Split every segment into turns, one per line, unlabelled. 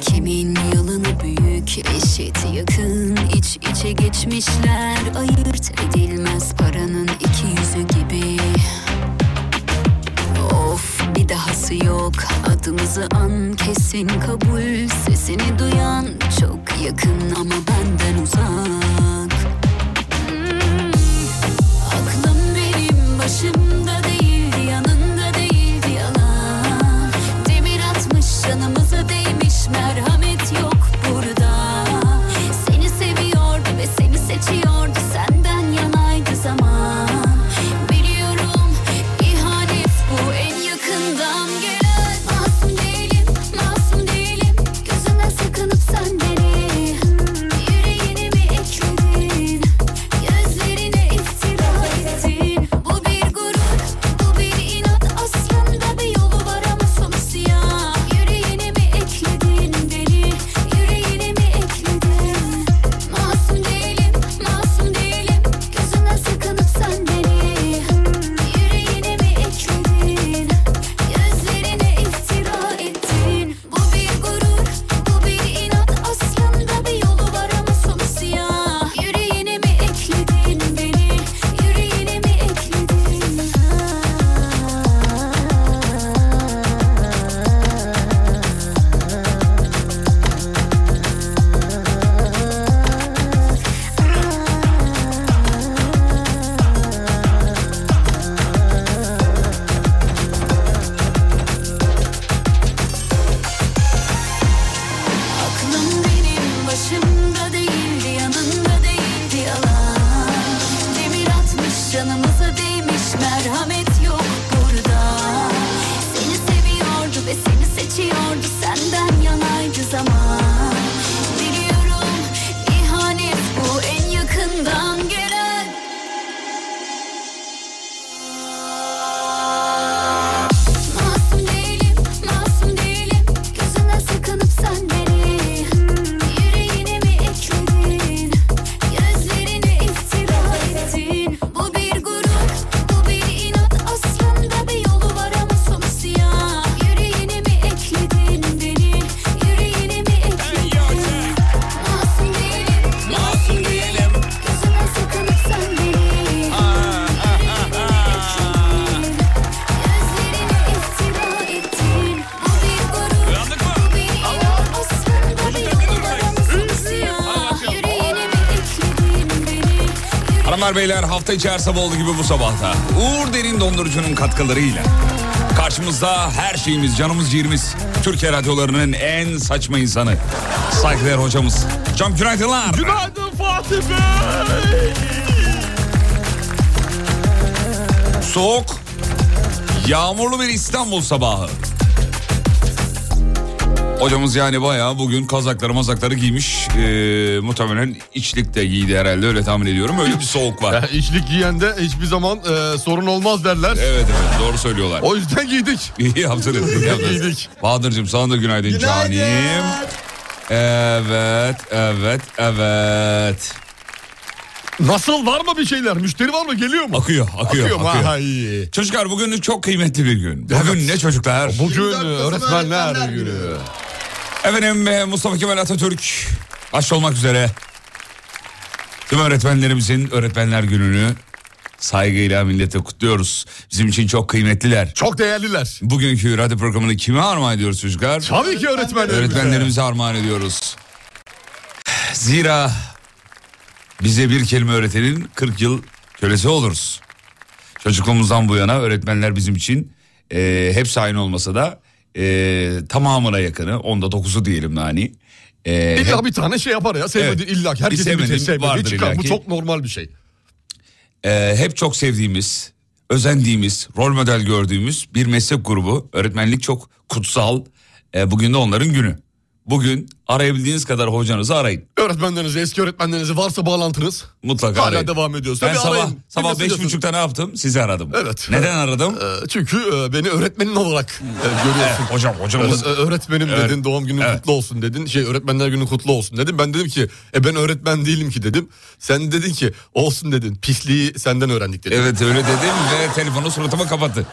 Kimin yalanı büyük eşit yakın iç içe geçmişler ayırt edilmez paranın iki yüzü gibi Of bir dahası yok adımızı an kesin kabul sesini duyan çok yakın ama benden uzak Hmm. Aklım benim başımda değildi yanında değildi yalan Demir atmış canımıza değmiş merhamet yok burada Seni seviyordu ve seni seçiyordu senden yanaydı zaman Biliyorum ihanet bu en yakından gelen Masum değilim masum değilim gözüme sıkınıp sen beni Yüreğini mi ekledin Gözlerine iftira ettin Bu bir gurur, bu bir inat Aslında bir yolu var ama sonu siyah Yüreğine mi ekledin deli Yüreğine mi ekledin Masum değilim, masum değilim Gözüne sıkınıp sen beni Yüreğine mi ekledin Gözlerine iftira ettin Bu bir gurur, bu bir inat Aslında bir yolu var ama sonu siyah Yüreğine mi ekledin beni Yüreğine mi ekledin Aklım benim başımda değildi yanında değildi yalan Demir atmış canımıza değmiş merhamet yok burada Seni seviyordu ve seni seçiyordu senden yanaydı zaman Biliyorum ihanet bu en yakından gelen Masum değilim, masum değilim Gözüne sıkınıp sen beni Yüreğine mi ekledin Gözlerine iftira ettin Bu bir gurur, bu bir inat Aslında bir yolu var ama sonu siyah Yüreğine mi ekledin beni Yüreğine mi ekledin Masum değilim, masum değilim Gözüne sıkınıp sen beni Gözlerine iftira ettin Bu bir gurur,
Uyandık mı?
bu bir inat Aslında bir yolu var ama sonu siyah Yüreğine mi ekledin beni
Hanımlar beyler hafta içi her sabah olduğu gibi bu sabahta Uğur Derin Dondurucu'nun katkılarıyla karşımızda her şeyimiz canımız ciğerimiz Türkiye radyolarının en saçma insanı saygıdeğer hocamız Hocam günaydınlar.
Günaydın Fatih Bey.
Soğuk, yağmurlu bir İstanbul sabahı. Hocamız yani bayağı bugün kazakları mazakları giymiş. Ee, muhtemelen içlik de giydi herhalde öyle tahmin ediyorum. Öyle bir soğuk var.
Yani E, içlik giyende hiçbir zaman e, sorun olmaz derler.
Evet evet doğru söylüyorlar.
O yüzden giydik.
İyi yaptınız. iyi yaptınız.
İyiydik.
Bahadır'cığım sana da günaydın, canim. Evet, evet, evet.
Nasıl var mı bir şeyler? Müşteri var mı? Geliyor mu?
Akıyor, akıyor,
Akıyor mu?
akıyor.
Ha, iyi.
Çocuklar bugün çok kıymetli bir gün. Bugün ne çocuklar?
Bugün
24 Kasım
öğretmenler
Öğretmenler
günü.
Günü.
Efendim e, Mustafa Kemal Atatürk başta olmak üzere tüm öğretmenlerimizin öğretmenler gününü saygıyla millete kutluyoruz. Bizim için çok kıymetliler.
Çok değerliler.
Bugünkü radyo programını kime armağan ediyoruz çocuklar?
Tabii ki öğretmenler.
Öğretmenlerimize armağan ediyoruz. Zira bize bir kelime öğretenin 40 yıl kölesi oluruz. Çocukluğumuzdan bu yana öğretmenler bizim için e, hepsi aynı olmasa da e, tamamına yakını onda dokuzu diyelim yani. E, hep,
İlla bir tane şey yapar ya. Sevmediği
Evet.
illa. ki. Herkesin bir
Sevmediğim
tek sevmediği
vardır
çıkar. Bu
illaki.
çok normal bir şey.
e, hep çok sevdiğimiz, özendiğimiz, rol model gördüğümüz bir meslek grubu. Öğretmenlik çok kutsal. E, bugün de onların günü. Bugün arayabildiğiniz kadar hocanızı arayın.
Öğretmenlerinizi, eski öğretmenlerinizi varsa bağlantınız.
Mutlaka
Hala
arayın.
devam ediyorsa
Ben
bir
sabah
arayın. Bir
sabah
mesaj
beş
atın.
buçukta ne yaptım? Sizi aradım.
Evet.
Neden aradım?
Ee, Çünkü e, beni öğretmenin olarak e,
Evet,
görüyorsun.
hocam hocamız
Ö- öğretmenim
Evet.
dedin doğum günün
Evet.
kutlu olsun dedin şey öğretmenler günü kutlu olsun dedim ben dedim ki e ben öğretmen değilim ki dedim sen dedin ki olsun dedin pisliği senden öğrendik dedin
Evet öyle dedim ve telefonu suratıma kapattı.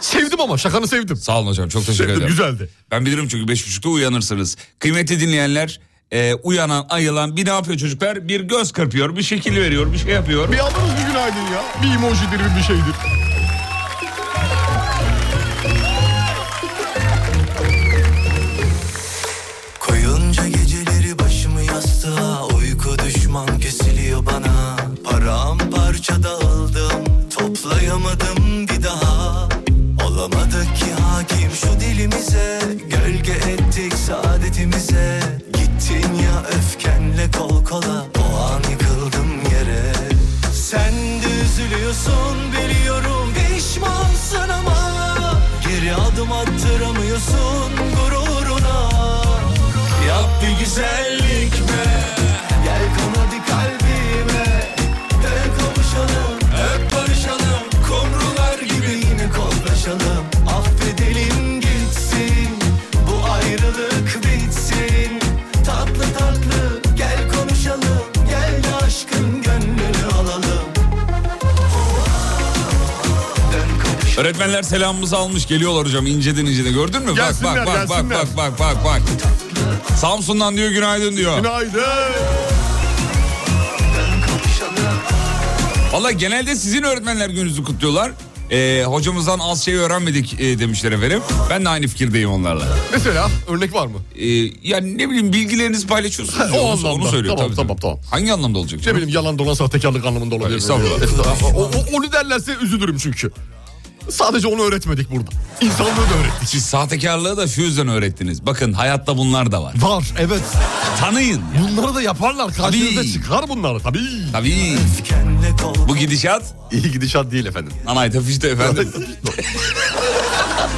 sevdim ama şakanı sevdim
Sağ olun hocam çok teşekkür
sevdim
ederim.
güzeldi
Ben bilirim çünkü beş buçukta uyanırsınız. Kıymetli dinleyenler e, uyanan ayılan bir ne yapıyor çocuklar? Bir göz kırpıyor, bir şekil veriyor, bir şey yapıyor.
bir aldınız bir günaydın ya bir emojidir bir bir şeydir
Koyunca geceleri başımı yastığa Uyku düşman kesiliyor bana Paramparça dağıldım Toplayamadım bir daha Olamadık ki hakim şu dilimize Gölge ettik saadetimize Gittin ya öfkenle kol kola O an yıkıldım yere Sen de üzülüyorsun biliyorum Pişmansın ama Geri adım attıramıyorsun gururuna Yap bir güzellik be Gel kon hadi kalbime Dön kavuşalım Öp barışalım Kumrular gibi yine kollaşalım Affedelim gitsin Bu ayrılık bitsin Tatlı tatlı Gel konuşalım Gel de aşkın gönlünü alalım Dön kavuşalım
şey-
Öğretmenler selamımızı almış geliyorlar hocam inceden inceden gördün mü? Bak
Gelsinler,
bak bak bak
gelsinler.
bak bak bak bak. Samsun'dan diyor günaydın diyor.
günaydın
Valla genelde sizin öğretmenler gününüzü kutluyorlar. E, hocamızdan az şey öğrenmedik e, demişler efendim. Ben de aynı fikirdeyim onlarla.
mesela örnek var mı
Ee, yani ne bileyim bilgilerinizi paylaşıyorsunuz.
Ha,
ya,
o
onu-
anlamda.
Onu söylüyor.
Tamam,
tabii,
tamam,
tabii.
tamam.
Hangi anlamda olacak?
ne
canım?
bileyim yalan dolan sahtekarlık anlamında olabilir
Estağfurullah.
o, o- onu derlerse üzülürüm çünkü sadece onu öğretmedik burada İnsanlığı da öğrettik
Siz sahtekarlığı da şu yüzden öğrettiniz. Bakın hayatta bunlar da var.
var evet
Tanıyın.
Bunları da yaparlar. Karşınıza
Tabii.
çıkar bunlar tabii.
Tabii.
Öfkenle kol
Bu gidişat
İyi gidişat değil efendim.
anay tafişte efendim.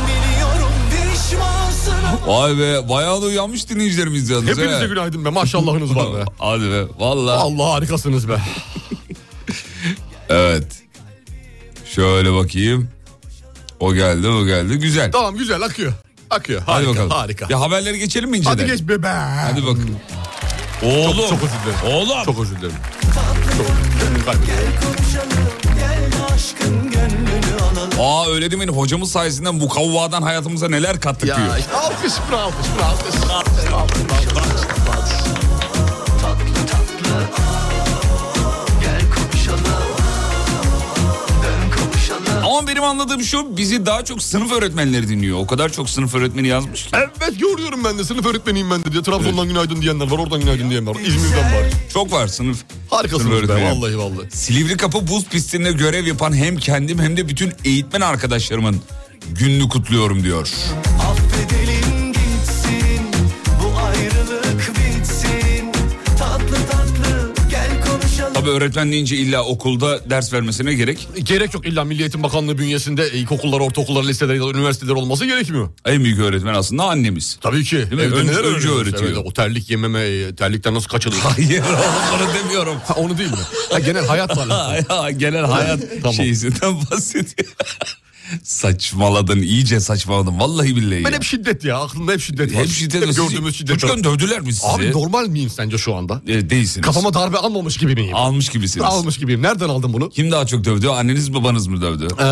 Biliyorum pişmansın ama
Vay be bayağı da uyanmış dinleyicilerimiz yalnız.
Hepinize
he.
günaydın be maşallahınız var be.
Hadi be valla.
Allah harikasınız be.
Evet. Şöyle bakayım. O geldi o geldi güzel.
Tamam güzel akıyor. Akıyor.
Hadi
Harika
bakalım.
harika.
Ya haberleri geçelim mi inceden?
Hadi geç be be.
Hadi bakın. Oğlum.
çok özür dilerim.
Oğlum.
Çok özür dilerim. Çok gönlümü kaybettim.
konuşalım Gel de aşkın gönlünü alalım
Aa öyle demeyin hocamız sayesinde mukavvadan hayatımıza neler kattık diyor.
Ya işte alkış buna alkış buna alkış. Alkış buna alkış. buna alkış.
Gel konuşalım Dön konuşalım
Ama benim anladığım şu bizi daha çok sınıf öğretmenleri dinliyor. O kadar çok sınıf öğretmeni yazmış ki.
Evet görüyorum ben de sınıf öğretmeniyim ben de diye. Trabzon'dan günaydın diyenler var oradan günaydın diyenler var. İzmir'den var.
Çok var sınıf. sınıf
Harikasınız be
öğretmeni.
vallahi vallahi.
Silivri Kapı Buz Pisti'nde görev yapan hem kendim hem de bütün eğitmen arkadaşlarımın gününü kutluyorum diyor.
Affedelim gitsin Bu ayrılık bitsin Tatlı tatlı Gel konuşalım
Tabii öğretmen deyince illa okulda ders vermesine gerek.
Gerek yok illa Milli Eğitim Bakanlığı bünyesinde ilkokullar, ortaokullar, liseler ya da üniversiteler olması gerekmiyor.
En büyük öğretmen aslında annemiz.
Tabii ki. Evde
mi? Önce-
neler
önce
öğreniyoruz?
öğretiyor.
Evet, o terlik yememe, e, terlikten nasıl kaçılır?
Hayır oğlum onu demiyorum.
Ha, onu değil mi? Ha, genel hayatla alakalı.
Genel hayat
Tamam.
şeysinden bahsediyor. Saçmaladın iyice saçmaladın vallahi billahi.
Ben
ya.
hep şiddet ya. Aklımda hep şiddet var.
Hep şiddet
Hep
ve sizi-
gördüğümüz şiddet var.
Çocukken dövdüler mi sizi?
Abi normal miyim sence şu anda?
E, değilsiniz.
Kafama darbe almamış gibi miyim?
Almış gibisiniz.
Almış gibiyim. Nereden aldım bunu?
Kim daha çok dövdü? Anneniz babanız mı dövdü?
Ee,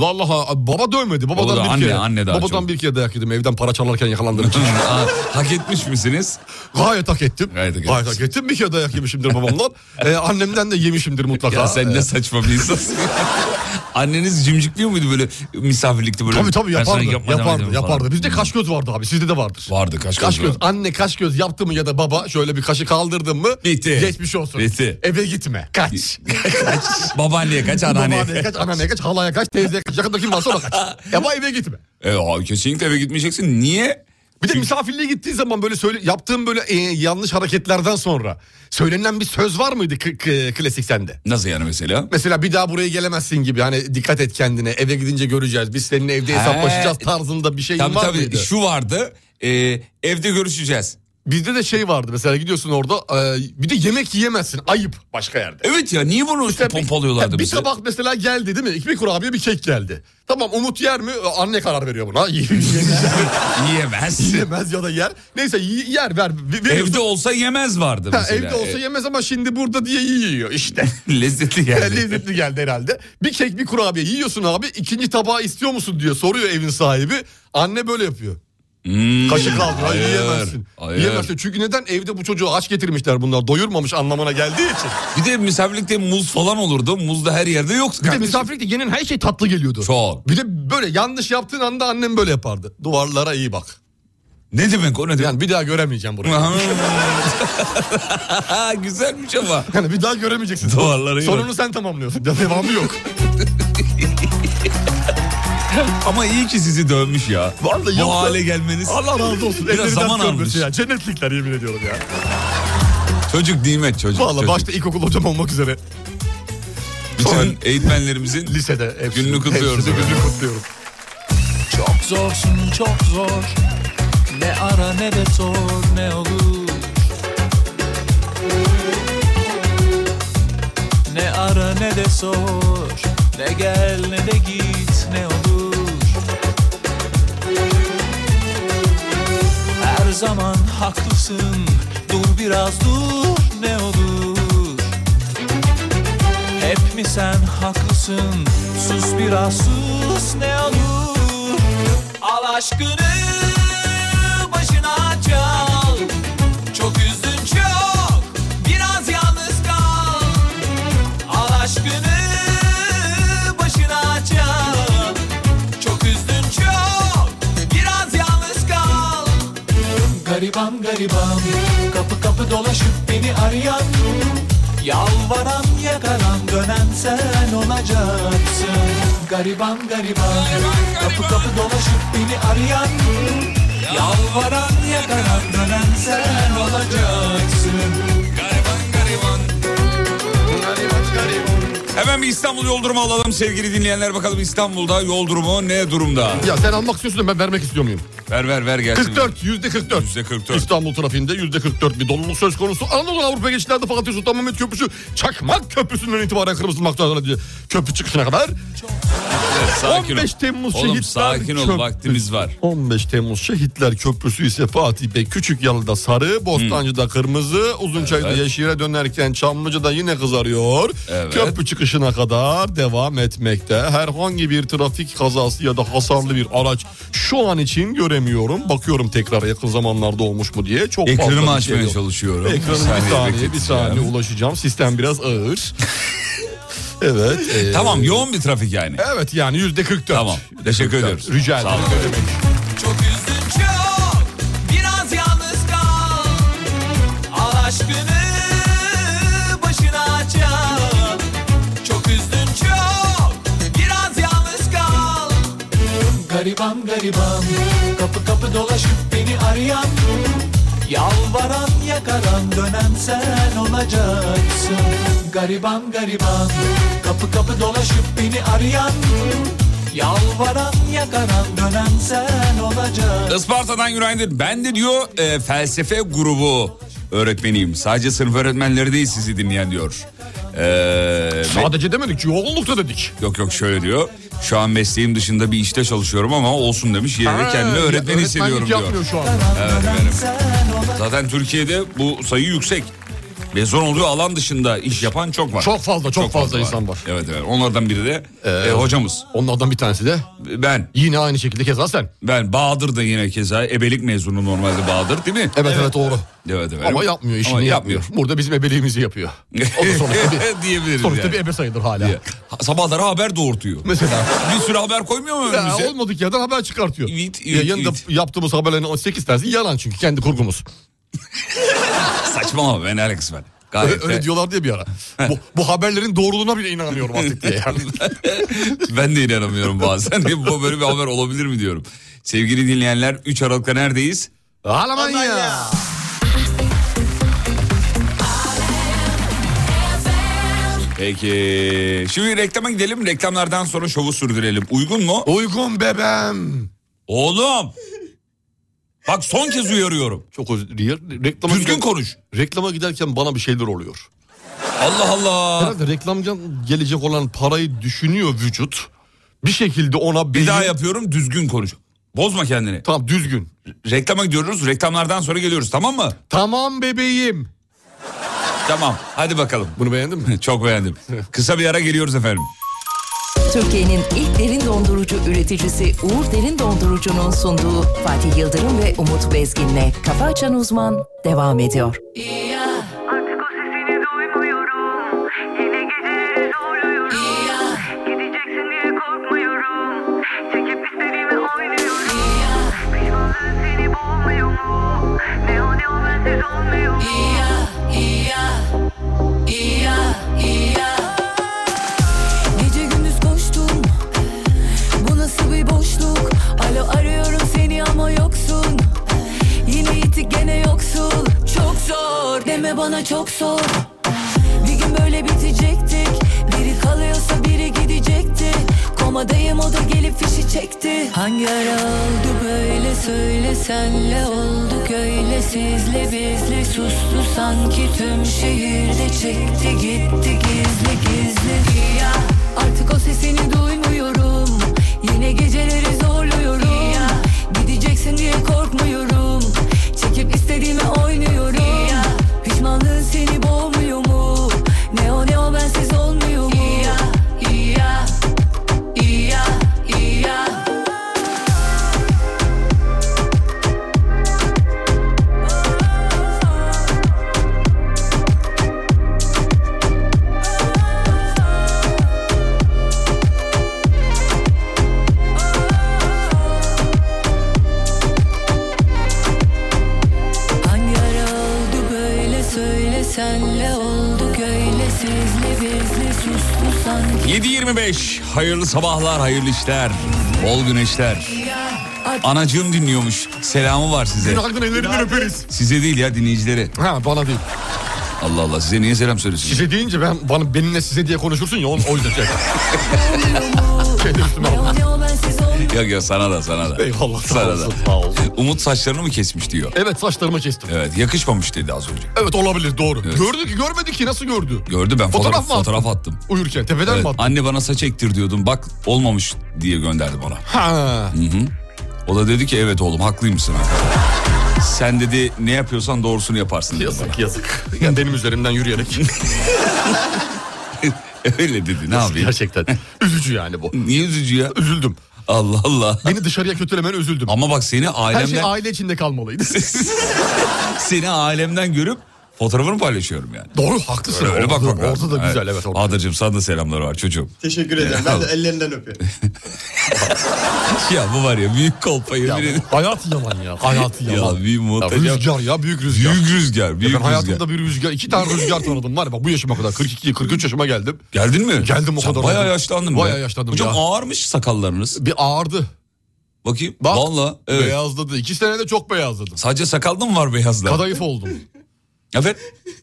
vallahi abi, baba dövmedi. Babadan
Baba da
bir
anne,
kere.
anne daha
babadan
çok.
bir kere dayak yedim. Evden para çalarken yakalandığım için.
Aa, Hak etmiş misiniz?
Gayet hak ettim.
Gayet hak
Gayet
ettim.
hak ettim. Bir kere dayak yemişimdir babamdan. Ee, annemden de yemişimdir mutlaka.
Ya sen
Ee,
ne saçma bir insansın. Anneniz cimcikliyor muydu böyle misafirlikte böyle?
Tabii tabii
Ben sana
yapardı.
yapma
Yapardı,
demedim falan. Hmm.
yapardı. Bizde kaş göz vardı abi. Sizde de vardır.
Vardı kaş
Kaş
göz.
göz.
vardı.
Anne kaş göz yaptı mı ya da baba şöyle bir kaşı kaldırdın mı?
Bitti.
Geçmiş olsun.
Bitti.
Eve gitme. Kaç.
Babaanneye kaç anneanneye.
Babaanneye kaç, anneanneye kaç, halaya kaç, teyzeye kaç. Yakında kim varsa ona kaç. Ama eve gitme.
E, abi kesinlikle eve gitmeyeceksin. Niye?
Bir de misafirliğe gittiği zaman böyle söyle, yaptığım böyle e, yanlış hareketlerden sonra söylenen bir söz var mıydı k- k- klasik sende?
Nasıl yani mesela?
Mesela bir daha buraya gelemezsin gibi hani dikkat et kendine eve gidince göreceğiz biz seninle evde hesaplaşacağız tarzında bir şey
Tabii
var
tabii
mıydı?
şu vardı. e, evde görüşeceğiz.
Bizde de şey vardı mesela gidiyorsun orada e, bir de yemek yiyemezsin ayıp başka yerde.
Evet ya niye bunu işte pompalıyorlardı
bir
bize?
tabak mesela geldi değil mi? İki bir kurabiye bir kek geldi. Tamam Umut yer mi? Ee, Anne karar veriyor buna. Yemez.
Yiyemez.
Yemez ya da yer. Neyse y- yer ver. ver- ver-
evde olsa yemez vardı
Ha,
mesela.
evde olsa
E,
yemez ama şimdi burada diye yiyor işte.
Lezzetli geldi.
Lezzetli geldi herhalde. Bir kek bir kurabiye yiyorsun abi. İkinci tabağı istiyor musun diyor soruyor evin sahibi. Anne böyle yapıyor.
Hmm.
Kaşık kaldırıyor. Hayır,
Hayır,
yiyemezsin.
hayır.
Yiyemezsin. Çünkü neden? Evde bu çocuğu aç getirmişler bunlar. Doyurmamış anlamına geldiği için.
Bir de misafirlikte muz falan olurdu. Muz da her yerde yoktu.
Bir de
kardeşim.
misafirlikte yenen her şey tatlı geliyordu.
Çok.
Bir de böyle yanlış yaptığın anda annem böyle yapardı. Duvarlara iyi bak.
Ne demek o ne demek?
Yani bir daha göremeyeceğim burayı.
Ha, Güzelmiş ama.
Yani bir daha göremeyeceksin.
Duvarlara iyi bak.
Sonunu sen tamamlıyorsun. Devamı yok.
Ama iyi ki sizi dövmüş ya.
Vallahi
Bu
yoksa-
hale gelmeniz.
Allah razı olsun.
Biraz
Ellerinden
zaman
görmesi
almış.
Ya. Cennetlikler yemin ediyorum ya.
Çocuk nimet çocuk.
Valla
çocuk.
başta ilkokul hocam olmak üzere
Bütün eğitmenlerimizin
lisede hepsini,
Gününü kutluyoruz
hepsini
efendim.
gününü kutluyorum.
Çok zorsun çok zor Ne ara ne de sor ne olur Ne ara ne de sor Ne gel ne de git ne olur Her zaman haklısın Dur biraz dur ne olur hep mi sen haklısın? Sus biraz sus ne olur? Al aşkını başına çal. Çok üzdün çok biraz yalnız kal. Al aşkını başına çal. Çok üzdün çok biraz yalnız kal. Gariban gariban kapı kapı dolaşıp beni arayan Yalvaran yakaran dönen sen olacaksın Gariban gariban, kapı kapı dolaşıp beni arayan Yalvaran yakaran dönen sen olacaksın
Hemen bir İstanbul yol durumu alalım sevgili dinleyenler. Bakalım İstanbul'da yol durumu ne durumda?
Ya sen almak istiyorsun da ben vermek istiyor muyum?
Ver ver ver gelsin.
44, yüzde 44.
Yüzde 44.
İstanbul trafiğinde yüzde 44 bir doluluk söz konusu. Anadolu Avrupa geçişlerde Fatih Sultan Mehmet Köprüsü Çakmak Köprüsü'nden itibaren kırmızı noktadan diye köprü çıkışına kadar.
Evet, sakin ol.
15 Temmuz
Oğlum
Şehitler
sakin ol
Köprüsü.
vaktimiz var.
15 Temmuz Şehitler Köprüsü ise Fatih Bey Küçükyalı'da sarı, Bostancı'da kırmızı, Uzunçay'da
Evet.
yeşile dönerken Çamlıca'da yine kızarıyor.
Evet.
Köprü çıkışına kadar devam etmekte. Herhangi bir trafik kazası ya da hasarlı bir araç şu an için göremiyorum. Bakıyorum tekrar yakın zamanlarda olmuş mu diye. Çok fazla bir
Ekranımı
şey
açmaya
yok.
çalışıyorum.
Ekranı bir saniye,
bekletin
bir saniye
ya.
ulaşacağım. Sistem biraz ağır. evet. e,
Tamam yoğun bir trafik yani.
Evet yani yüzde 44.
Tamam, teşekkür ediyoruz.
Rica
Sağ
ederim.
olun.
Ne demek?
Çok üzdün çok Biraz yalnız kal Al aşkını başına çal Çok üzdün çok Biraz yalnız kal Gariban gariban Kapı kapı dolaşıp beni arayan Yalvaran yakaran dönen sen olacaksın Gariban gariban Kapı kapı dolaşıp beni arayan Yalvaran yakaran dönen sen olacaksın
Isparta'dan günaydın. Ben de diyor e, felsefe grubu öğretmeniyim. Sadece sınıf öğretmenleri değil sizi dinleyen diyor. Ee, ve-
Sadece demedik yoğunlukta dedik.
Yok yok şöyle diyor. Şu an mesleğim dışında bir işte çalışıyorum ama olsun demiş. Yine de kendimi
Ha,
öğretmen
öğretmenlik
hissediyorum
yapmıyor
diyor.
şu an.
Dönen sen olacaksın
Zaten Türkiye'de bu sayı yüksek. Mezun olduğu alan dışında iş yapan çok var.
Çok fazla, çok fazla insan var. Ee,
Evet evet. Onlardan biri de e, hocamız.
Onlardan bir tanesi de
Ben
yine aynı şekilde keza sen.
ben Bahadır da yine keza ebelik mezunu normalde Bahadır değil mi?
Evet evet, doğru.
Evet evet.
Ama yapmıyor işini
Ama
yapmıyor. Burada bizim ebeliğimizi yapıyor. O da sonuçta bir,
Diyebiliriz
sonuçta
yani.
bir ebe sayılır hala.
Ya, ha- Sabahları haber doğurtuyor.
Mesela.
bir sürü haber koymuyor mu
Ya,
önümüze?
olmadık yerden haber çıkartıyor.
Evet,
Ya,
evet,
yanında
evet.
yaptığımız haberlerin 8 tanesi yalan çünkü kendi kurgumuz.
Saçmalama ben ne alakası var?
Öyle,
Gayet
öyle
de-
diyorlar diye bir ara. bu, bu haberlerin doğruluğuna bile inanamıyorum artık diye yani.
ben de inanamıyorum bazen. Bu böyle bir haber olabilir mi diyorum. Sevgili dinleyenler 3 Aralık'ta neredeyiz?
Alamanya.
Peki. Şimdi reklama gidelim. Reklamlardan sonra şovu sürdürelim. Uygun mu?
Uygun bebem.
Oğlum. Bak son kez uyarıyorum.
Çok özür dilerim. Reklama
Düzgün
gider-
konuş.
Reklama giderken bana bir şeyler oluyor.
Allah Allah.
Herhalde reklamdan gelecek olan parayı düşünüyor vücut. Bir şekilde ona
Bir
beyin-
daha yapıyorum düzgün konuş. Bozma kendini.
Tamam düzgün.
Reklama gidiyoruz. Reklamlardan sonra geliyoruz tamam mı?
Tamam bebeğim.
Tamam. Hadi bakalım.
Bunu beğendin mi?
Çok beğendim. Kısa bir ara geliyoruz efendim.
Türkiye'nin ilk derin dondurucu üreticisi Uğur Derin Dondurucu'nun sunduğu Fatih Yıldırım ve Umut Bezgin'le Kafa Açan Uzman devam ediyor.
Artık o sesini duymuyorum Yine geceleri zorluyorum Gideceksin diye korkmuyorum Çekip istediğimi oynuyorum Pişmanlığın seni boğmuyor mu? Ne o ne o bensiz olmuyor mu?
Gece gündüz koştum Bu nasıl bir boşluk Alo arıyorum seni ama yoksun Yine itik gene yoksul Çok zor deme bana çok zor Bir gün böyle bitecektik Biri kalıyorsa biri gidecekti Komadayım o da gelip fişi çekti Hangi ara oldu böyle söyle senle olduk öyle Sizle bizle sustu sanki tüm şehirde Çekti gitti gizli gizli Rüya Artık o sesini duymuyorum Yine geceleri zorluyorum Gideceksin diye korkmuyorum Çekip istediğimi oynuyorum Pişmanlığın seni boğmuyor mu? Ne o ne o bensiz olmuyor mu? İya, iya, iya, iya. Hangi ara oldu böyle söyle senle olduk öyle Sizle bizle sustu sanki
7.25 hayırlı sabahlar, hayırlı işler, bol güneşler. Anacığım dinliyormuş. Selamı var size.
Günaydın ellerinden öperiz.
Size değil ya dinleyicilere.
Ha bana değil.
Allah Allah size niye selam söylüyorsunuz?
Size deyince ben bana benimle size diye konuşursun ya onun- o yüzden şey. Kendi üstüme aldım.
Ne o bensiz olmuyor
Yok yok sana da sana da.
Eyvallah sağ
Sana da.
olsun, sağ olsun.
Umut saçlarını mı kesmiş diyor.
Evet saçlarımı kestim.
Evet yakışmamış dedi az önce.
Evet olabilir doğru.
Evet.
Gördü ki görmedi ki nasıl gördü?
Gördü ben fotoğraf,
Fotoğraf
fotoğraf,
mı attın?
attım.
Uyurken tepeden
Evet,
mi attı?
anne bana saç ektir diyordum bak olmamış diye gönderdim ona.
Ha.
O da dedi ki evet oğlum haklıymışsın. Sen dedi ne yapıyorsan doğrusunu yaparsın dedi bana.
Yazık yazık. Yani benim üzerimden yürüyerek.
Öyle dedi ne yapayım.
Gerçekten. Üzücü yani bu.
Niye üzücü ya?
Üzüldüm.
Allah Allah.
Beni dışarıya kötülemen üzüldüm.
Ama bak seni
Her
ailemden
şey aile içinde kalmalıydı.
seni ailemden görüp fotoğrafını paylaşıyorum yani.
Doğru haklısın.
Öyle, öyle
Orada-
bakmak
Orada
lazım.
da güzel evet. orada.
Bahadır'cığım sana da selamlar var çocuğum.
Teşekkür ederim. Ben de ellerinden öpüyorum.
ya bu var ya büyük kolpa yemin
Ya,
ederim.
hayat yalan ya. Hayat yalan.
Ya bir muhteşem.
rüzgar ya büyük rüzgar.
Büyük rüzgar, büyük
ben hayatımda
rüzgar.
bir rüzgar, iki tane rüzgar tanıdım var ya bak bu yaşıma kadar 42 43 yaşıma geldim.
Geldin mi?
Geldim o
Sen
kadar
Bayağı
oldum.
yaşlandın be.
Bayağı yaşlandım ya.
Hocam ağarmış sakallarınız.
Bir ağırdı.
Bakayım.
Bak,
Valla. Evet.
Beyazladı. İki senede çok beyazladım.
Sadece sakalda mı var beyazlar?
Kadayıf oldum.
Evet.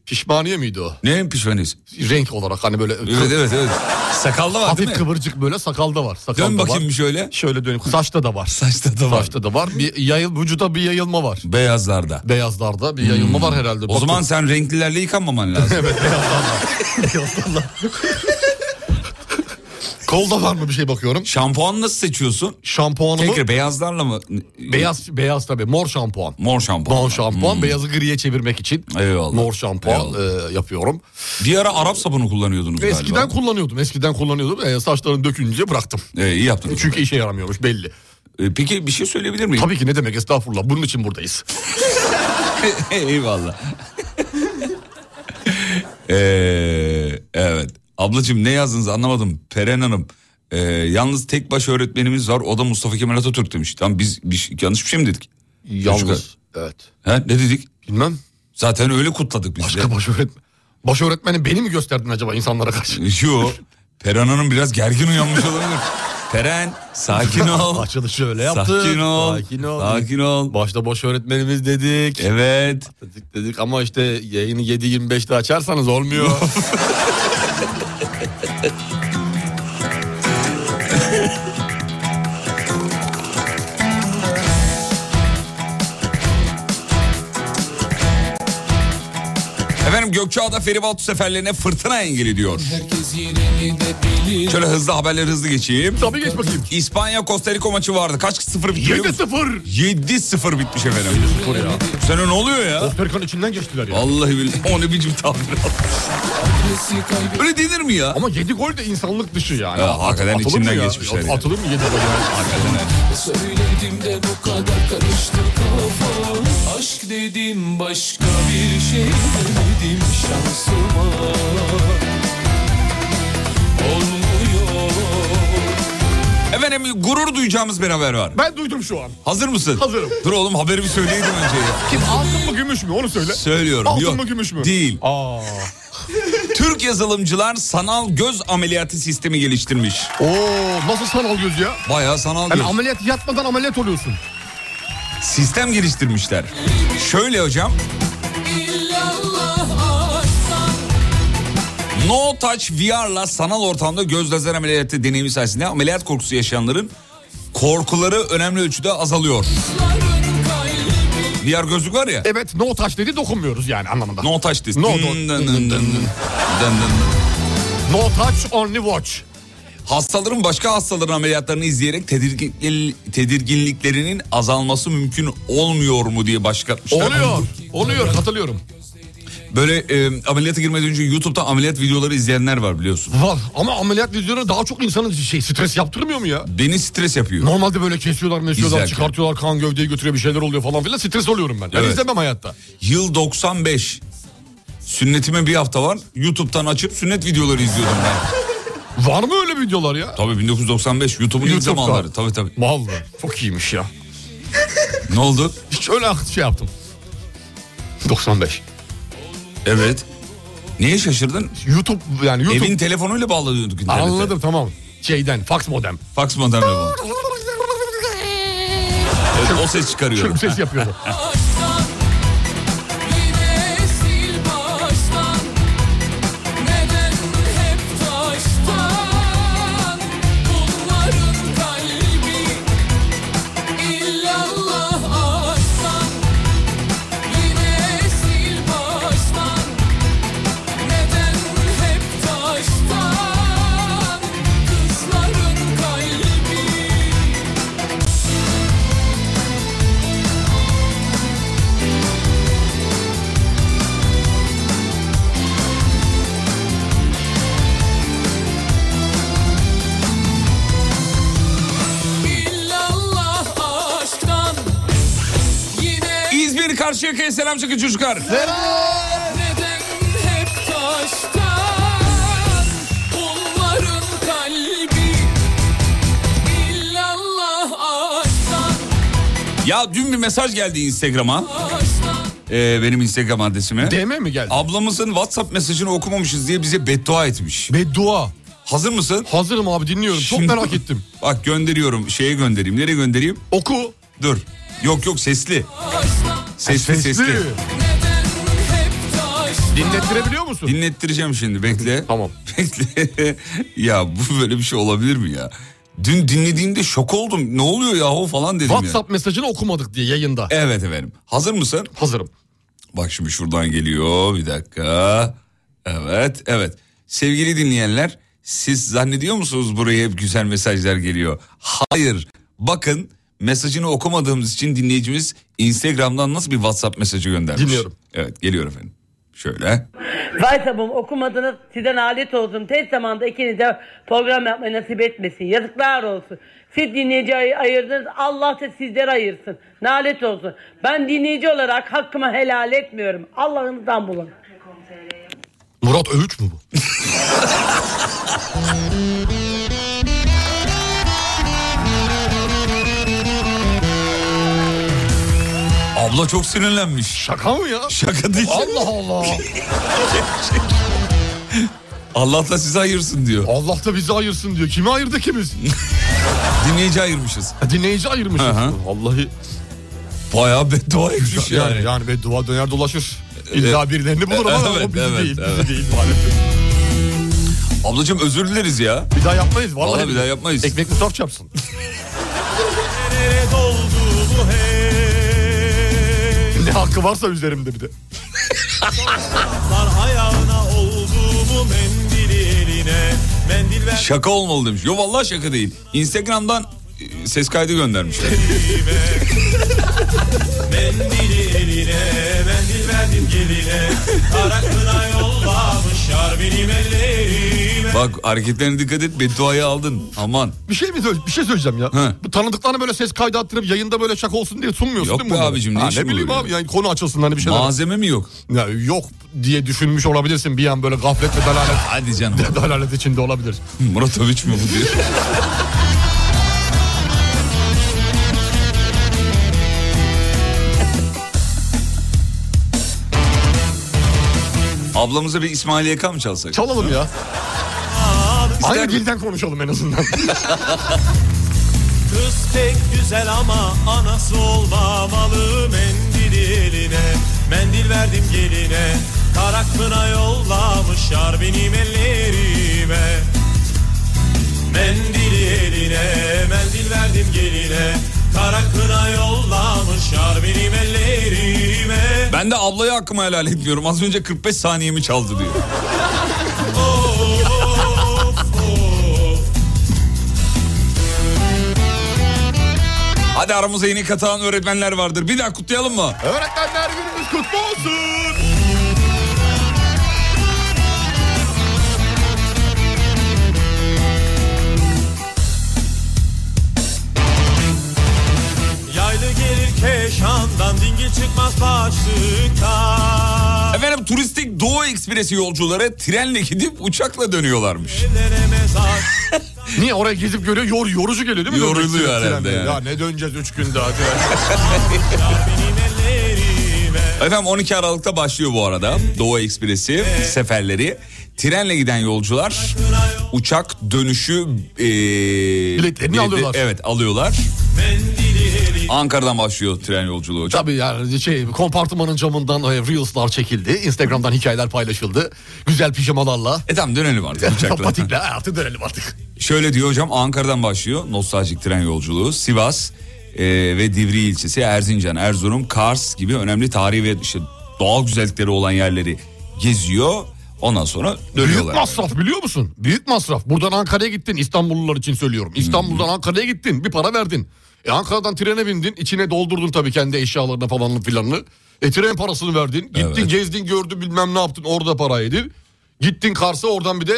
Pişmaniye miydi o?
Ne pişmaniz?
Renk olarak hani böyle
Evet evet evet. Sakalda var
hafif
değil mi?
kıvırcık böyle sakalda var. Sakalda
Dön bakayım
var.
bir şöyle.
Şöyle dönüp şey. saçta da var.
Saçta da var.
Saçta da var. Bir yayıl vücuda bir yayılma var.
Beyazlarda.
Beyazlarda bir yayılma var herhalde.
O zaman sen renklilerle yıkanmaman lazım.
evet beyazlarla. beyazlarla. Kolda var mı bir şey bakıyorum.
Şampuanı nasıl seçiyorsun?
Şampuanımı
Tekrar beyazlarla mı?
beyaz beyaz tabii mor şampuan.
Mor şampuan.
Mor şampuan beyazı griye çevirmek için
Eyvallah.
mor şampuan
Eyvallah.
e, yapıyorum.
Hmm. Bir ara Arap sabunu kullanıyordunuz
Eskiden
galiba.
kullanıyordum. Eskiden kullanıyordum. E, saçlarını dökünce bıraktım.
Ee, iyi yaptınız.
Çünkü işe yaramıyormuş belli.
Ee, peki bir şey söyleyebilir miyim?
Tabii ki ne demek estağfurullah. Bunun için buradayız.
Eyvallah. Ee, evet. Ablacığım ne yazdınız anlamadım. Peren Hanım. ee, yalnız tek baş öğretmenimiz var. O da Mustafa Kemal Atatürk demiş. Tam biz bir, şey- yanlış bir şey mi dedik?
Yalnız. Evet.
Ha, ne dedik?
Bilmem.
Zaten öyle kutladık biz
Başka
de.
baş öğretmen. Baş öğretmeni beni mi gösterdin acaba insanlara karşı?
Yo. Peren Hanım biraz gergin uyanmış olabilir. Peren sakin ol.
Açılışı öyle yaptı.
Sakin ol.
Sakin ol.
Sakin ol.
Başta boş öğretmenimiz dedik.
Evet.
Dedik dedik ama işte yayını 7.25'te açarsanız olmuyor.
Efendim Gökçeada feribot seferlerine fırtına engeli diyor. Şöyle hızlı haberleri hızlı geçeyim. Tabii geç bakayım. İspanya Costa Rica maçı vardı. Kaç sıfır bitti? 7-0. 7-0 bitmiş efendim. 7-0 ya. Sene ne oluyor ya? Costa Rica'nın içinden geçtiler ya. Vallahi billahi. O ne biçim tabir. Öyle denir mi ya?
Ama 7 gol de insanlık dışı yani.
Ya, hakikaten
Atılır mı
içinden
ya?
geçmişler
At-
yani.
Atılır mı 7 gol ya?
Söyledim de bu kadar karıştı kafam Aşk dedim başka bir şey demedim şansıma
Efendim gurur duyacağımız bir haber var.
Ben duydum şu an.
Hazır mısın? Hazırım. Dur oğlum haberi bir söyleyeydim önce ya.
Kim altın mı gümüş mü onu söyle.
Söylüyorum.
Altın
Yok,
mı gümüş mü?
Değil.
Aa.
Türk yazılımcılar sanal göz ameliyatı sistemi geliştirmiş.
Oo nasıl sanal göz ya?
Bayağı sanal
Yani
göz.
ameliyat yatmadan ameliyat oluyorsun.
Sistem geliştirmişler. Şöyle hocam.
İllallah aşktan
No Touch VR'la sanal ortamda göz lazer ameliyatı deneyimi sayesinde ameliyat korkusu yaşayanların korkuları önemli ölçüde azalıyor. VR gözlük var ya.
Evet no touch dedi dokunmuyoruz yani anlamında.
No touch dedi.
No
Dın
touch.
dın dın dın dın. Dın dın.
No touch only watch.
Hastaların başka hastaların ameliyatlarını izleyerek tedirgin, tedirginliklerinin azalması mümkün olmuyor mu diye başlatmışlar.
Oluyor. Oluyor katılıyorum.
Böyle e, ameliyata girmeden önce YouTube'da ameliyat videoları izleyenler var biliyorsun.
Var ama ameliyat videoları daha çok insanın şey stres yaptırmıyor mu ya?
Beni stres yapıyor.
Normalde böyle kesiyorlar, mesiyorlar,
İzlerken.
çıkartıyorlar, kan gövdeyi götürüyor bir şeyler oluyor falan filan. Stres oluyorum ben. Ben
Evet.
izlemem hayatta.
Yıl 95. Sünnetime bir hafta var. YouTube'dan açıp sünnet videoları izliyordum ben.
Var mı öyle videolar ya?
Tabii 1995 YouTube'un ilk
YouTube'da.
zamanları. Tabii tabii.
Vallahi çok iyiymiş ya.
Ne oldu?
Hiç öyle şey yaptım. 95.
Evet. Niye şaşırdın?
YouTube yani YouTube.
Evin telefonuyla bağlanıyorduk internete.
Anladım tamam. Şeyden fax modem.
Fax modemle bağlı. Evet, o ses çıkarıyor.
Çırp ses yapıyordu.
aşktan Yine sil baştan Neden hep taştan Bunların kalbi İllallah aşktan Yine sil baştan Neden hep taştan Kızların kalbi İllallah aşktan Yine
İzmir Karşıyaka'ya selam çakın çocuklar.
neden hep taştan Bunların kalbi İllallah aşktan
Ya dün bir mesaj geldi Instagram'a.
Aşktan
Ee, benim Instagram adresime.
DM mi geldi?
Ablamızın WhatsApp mesajını okumamışız diye bize beddua etmiş.
Beddua.
Hazır mısın?
Hazırım abi dinliyorum.
Şimdi-
Çok merak ettim.
Bak gönderiyorum. Şeye göndereyim. Nereye göndereyim?
Oku.
Dur. Yok yok sesli.
aşktan
Sesli sesli.
Neden hep taştan
Dinlettirebiliyor musun?
Dinlettireceğim şimdi bekle.
Tamam.
Bekle. ya bu böyle bir şey olabilir mi ya? Dün dinlediğimde şok oldum. Ne oluyor yahu falan dedim ya.
WhatsApp mesajını okumadık diye yayında.
Evet efendim. Hazır mısın?
Hazırım.
Bak şimdi şuradan geliyor bir dakika. Evet evet. Sevgili dinleyenler siz zannediyor musunuz buraya hep güzel mesajlar geliyor? Hayır. Bakın mesajını okumadığımız için dinleyicimiz Instagram'dan nasıl bir WhatsApp mesajı göndermiş.
Dinliyorum.
Evet geliyor efendim. Şöyle.
Vaysabım okumadınız sizden alet olsun. Tez zamanda ikinize program yapmayı nasip etmesin. Yazıklar olsun. Siz dinleyici ay- ayırdınız. Allah da sizleri ayırsın. Nalet olsun. Ben dinleyici olarak hakkımı helal etmiyorum. Allah'ınızdan bulun.
Murat Övüç mü bu?
Abla çok sinirlenmiş.
Şaka mı ya?
Şaka değil.
Allah Allah.
Allah da sizi ayırsın diyor.
Allah da bizi ayırsın diyor. Kimi ayırdı ki biz?
Dinleyici ayırmışız.
Ha, Dinleyici ayırmışız.
Hı hı.
Vallahi
Bayağı beddua etmiş yani. E,
yani, yani beddua döner dolaşır. İlla birilerini bulur ama
Evet,
o bizi
evet,
değil.
evet.
Bizi değil maalesef.
Ablacığım özür dileriz ya.
Bir daha yapmayız. Vallahi,
Vallahi bir daha yapmayız.
Ekmek musaf çarpsın.
Nereye doldu bu hey
ne hakkı varsa üzerimde bir de.
Sar ayağına olduğumu mendili eline Mendil ver
Şaka olmalı demiş. Yo vallahi şaka değil. Instagram'dan e, ses kaydı göndermişler.
mendili eline Mendil verdim geline Karaklına yollamışlar benim ellerime
Bak hareketlerine dikkat et bedduayı aldın. Aman.
Bir şey mi söyle- bir şey söyleyeceğim ya. Bu tanıdıklarına böyle ses kaydı attırıp yayında böyle şaka olsun diye sunmuyorsun
Yok
değil mi?
be
bunları?
abicim, ne
Ha,
işin
Ne bileyim
böyle?
abi yani konu açılsın hani bir şeyler.
Malzeme mi yok?
Ya, yok diye düşünmüş olabilirsin bir an böyle gaflet ve dalalet.
Hadi canım.
dalalet içinde olabilir.
Muratoviç mi bu diyor. Ablamıza bir İsmail YK mı çalsak?
Çalalım ya. Aynı dilden konuşalım en azından.
Kız pek güzel ama anası olmamalı mendili eline Mendil verdim geline Karaklına yollamışlar benim ellerime Mendili eline Mendil verdim geline Karaklına yollamışlar benim ellerime
Ben de ablayı hakkımı helal etmiyorum. Az önce 45 saniyemi çaldı diyor.
Of of
Hadi aramıza yeni katılan öğretmenler vardır. Bir daha kutlayalım mı?
Öğretmenler günümüz kutlu olsun.
Yaylı gelir keşandan dingil çıkmaz başlıktan
Efendim turistik Doğu Ekspresi yolcuları trenle gidip uçakla dönüyorlarmış.
Evlenemez artık
Niye oraya gezip görüyor yor, yorucu geliyor değil mi?
Yoruluyor
Dönmek için
herhalde
trenle.
yani.
Ya ne döneceğiz 3 gün daha. diyor.
Efendim 12 Aralık'ta başlıyor bu arada Doğu Ekspresi seferleri. Trenle giden yolcular uçak dönüşü e, biletlerini
alıyorlar.
Evet alıyorlar. Ankara'dan başlıyor tren yolculuğu.
Tabii yani şey kompartımanın camından e, reelslar çekildi. Instagram'dan hikayeler paylaşıldı. Güzel pijamalarla.
E tamam dönelim artık uçakla.
Patikle artık dönelim artık.
Şöyle diyor hocam Ankara'dan başlıyor nostaljik tren yolculuğu. Sivas e, ve Divri ilçesi Erzincan, Erzurum, Kars gibi önemli tarihi ve işte doğal güzellikleri olan yerleri geziyor. Ondan sonra
Büyük
dönüyorlar.
masraf biliyor musun? Büyük masraf. Buradan Ankara'ya gittin İstanbullular için söylüyorum.
Hmm.
İstanbul'dan Ankara'ya gittin bir para verdin. E Ankara'dan trene bindin içine doldurdun tabii kendi eşyalarını falanını filanını. E tren parasını verdin. Gittin
Evet.
gezdin gördün bilmem ne yaptın orada para yedin. Gittin Kars'a oradan bir de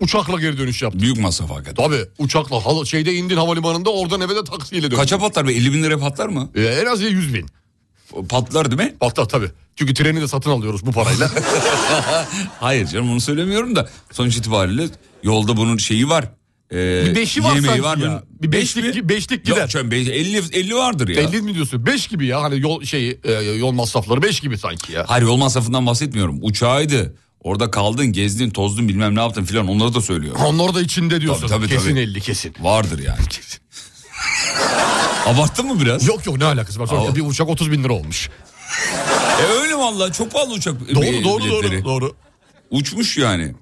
uçakla geri dönüş yaptın.
Büyük masraf hakikaten.
Tabii uçakla hal- şeyde indin havalimanında oradan eve de taksiyle döndün.
Kaça patlar be 50 bin lira patlar mı?
E, en az ya 100 bin.
Patlar değil mi?
Patlar tabii. Çünkü treni de satın alıyoruz bu parayla.
Hayır canım onu söylemiyorum da sonuç itibariyle yolda bunun şeyi var. Ee,
Bir beşi var sanki ya.
mı?
Bir beşlik
mi?
gi- beşlik gider.
Yok canım, beş- 50, 50 vardır ya.
50 mi diyorsun? 5 gibi ya hani yol şeyi e, yol masrafları 5 gibi sanki ya.
Hayır yol masrafından bahsetmiyorum. Uçağıydı. Orada kaldın, gezdin, tozdun bilmem ne yaptın filan onları da söylüyorum.
Onlar da içinde diyorsun.
Tabii, tabii,
kesin
tabii.
50 kesin.
Vardır yani. Abarttın mı biraz?
Yok yok ne alakası var? Sonra
Aa.
bir uçak 30 bin lira olmuş.
E öyle vallahi çok pahalı uçak e,
Doğru doğru doğru
biletleri.
doğru.
Uçmuş yani.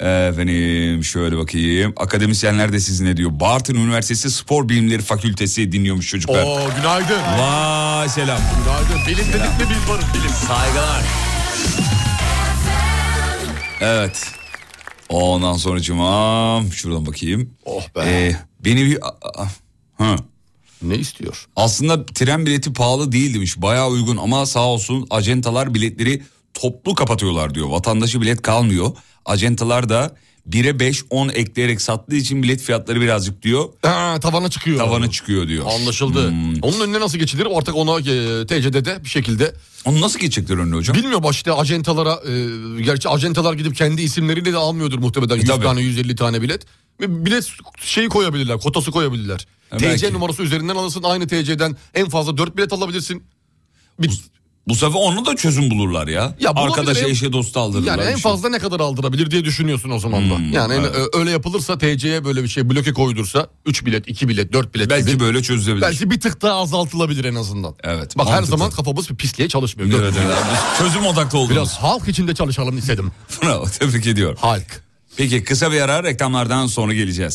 Efendim şöyle bakayım. Akademisyenler de sizinle diyor. Bartın Üniversitesi Spor Bilimleri Fakültesi dinliyormuş çocuklar.
Oo günaydın.
Vay selam.
Günaydın. Bilim dedik mi biz varız bilim.
Saygılar. Evet. Ondan sonra cumam şuradan bakayım.
Oh be.
Ee, beni bir... a- a- Hı.
Ne istiyor?
Aslında tren bileti pahalı değil demiş. Bayağı uygun ama sağ olsun acentalar biletleri toplu kapatıyorlar diyor. Vatandaşı bilet kalmıyor. Acentalar da 1'e 5 10 ekleyerek sattığı için bilet fiyatları birazcık diyor.
Ha, tavana çıkıyor.
Tavana Hmm. çıkıyor diyor.
Anlaşıldı. Onun önüne nasıl geçilir? Artık ona e, TCD'de bir şekilde.
Onu nasıl geçecekler önüne hocam?
Bilmiyorum başta acentalara. e, gerçi acentalar gidip kendi isimleriyle de almıyordur muhtemelen. 100
E, tabii.
tane 150 tane bilet. Ve Bilet şeyi koyabilirler. Kotası koyabilirler.
Ha,
TC
E, belki.
numarası üzerinden alırsın. Aynı TC'den en fazla 4 bilet alabilirsin. Bir,
Bu sefer onu da çözüm bulurlar ya.
Ya bulabilir.
Arkadaşa eşe dosta aldırırlar.
Yani
bir
en
şey.
fazla ne kadar aldırabilir diye düşünüyorsun o zaman da.
Hmm,
yani en-
evet.
ö- öyle yapılırsa TC'ye böyle bir şey bloke koydursa 3 bilet, 2 bilet, 4 bilet
Belki
gibi.
böyle çözülebilir.
Belki bir tık daha azaltılabilir en azından.
Evet.
Bak her
mantıklı.
zaman kafamız bir pisliğe çalışmıyor.
Evet,
Gördün mü?
evet, evet. Biz Çözüm odaklı oldunuz.
Biraz halk içinde çalışalım istedim.
Bravo, tebrik ediyorum.
Halk.
Peki kısa bir ara reklamlardan sonra geleceğiz.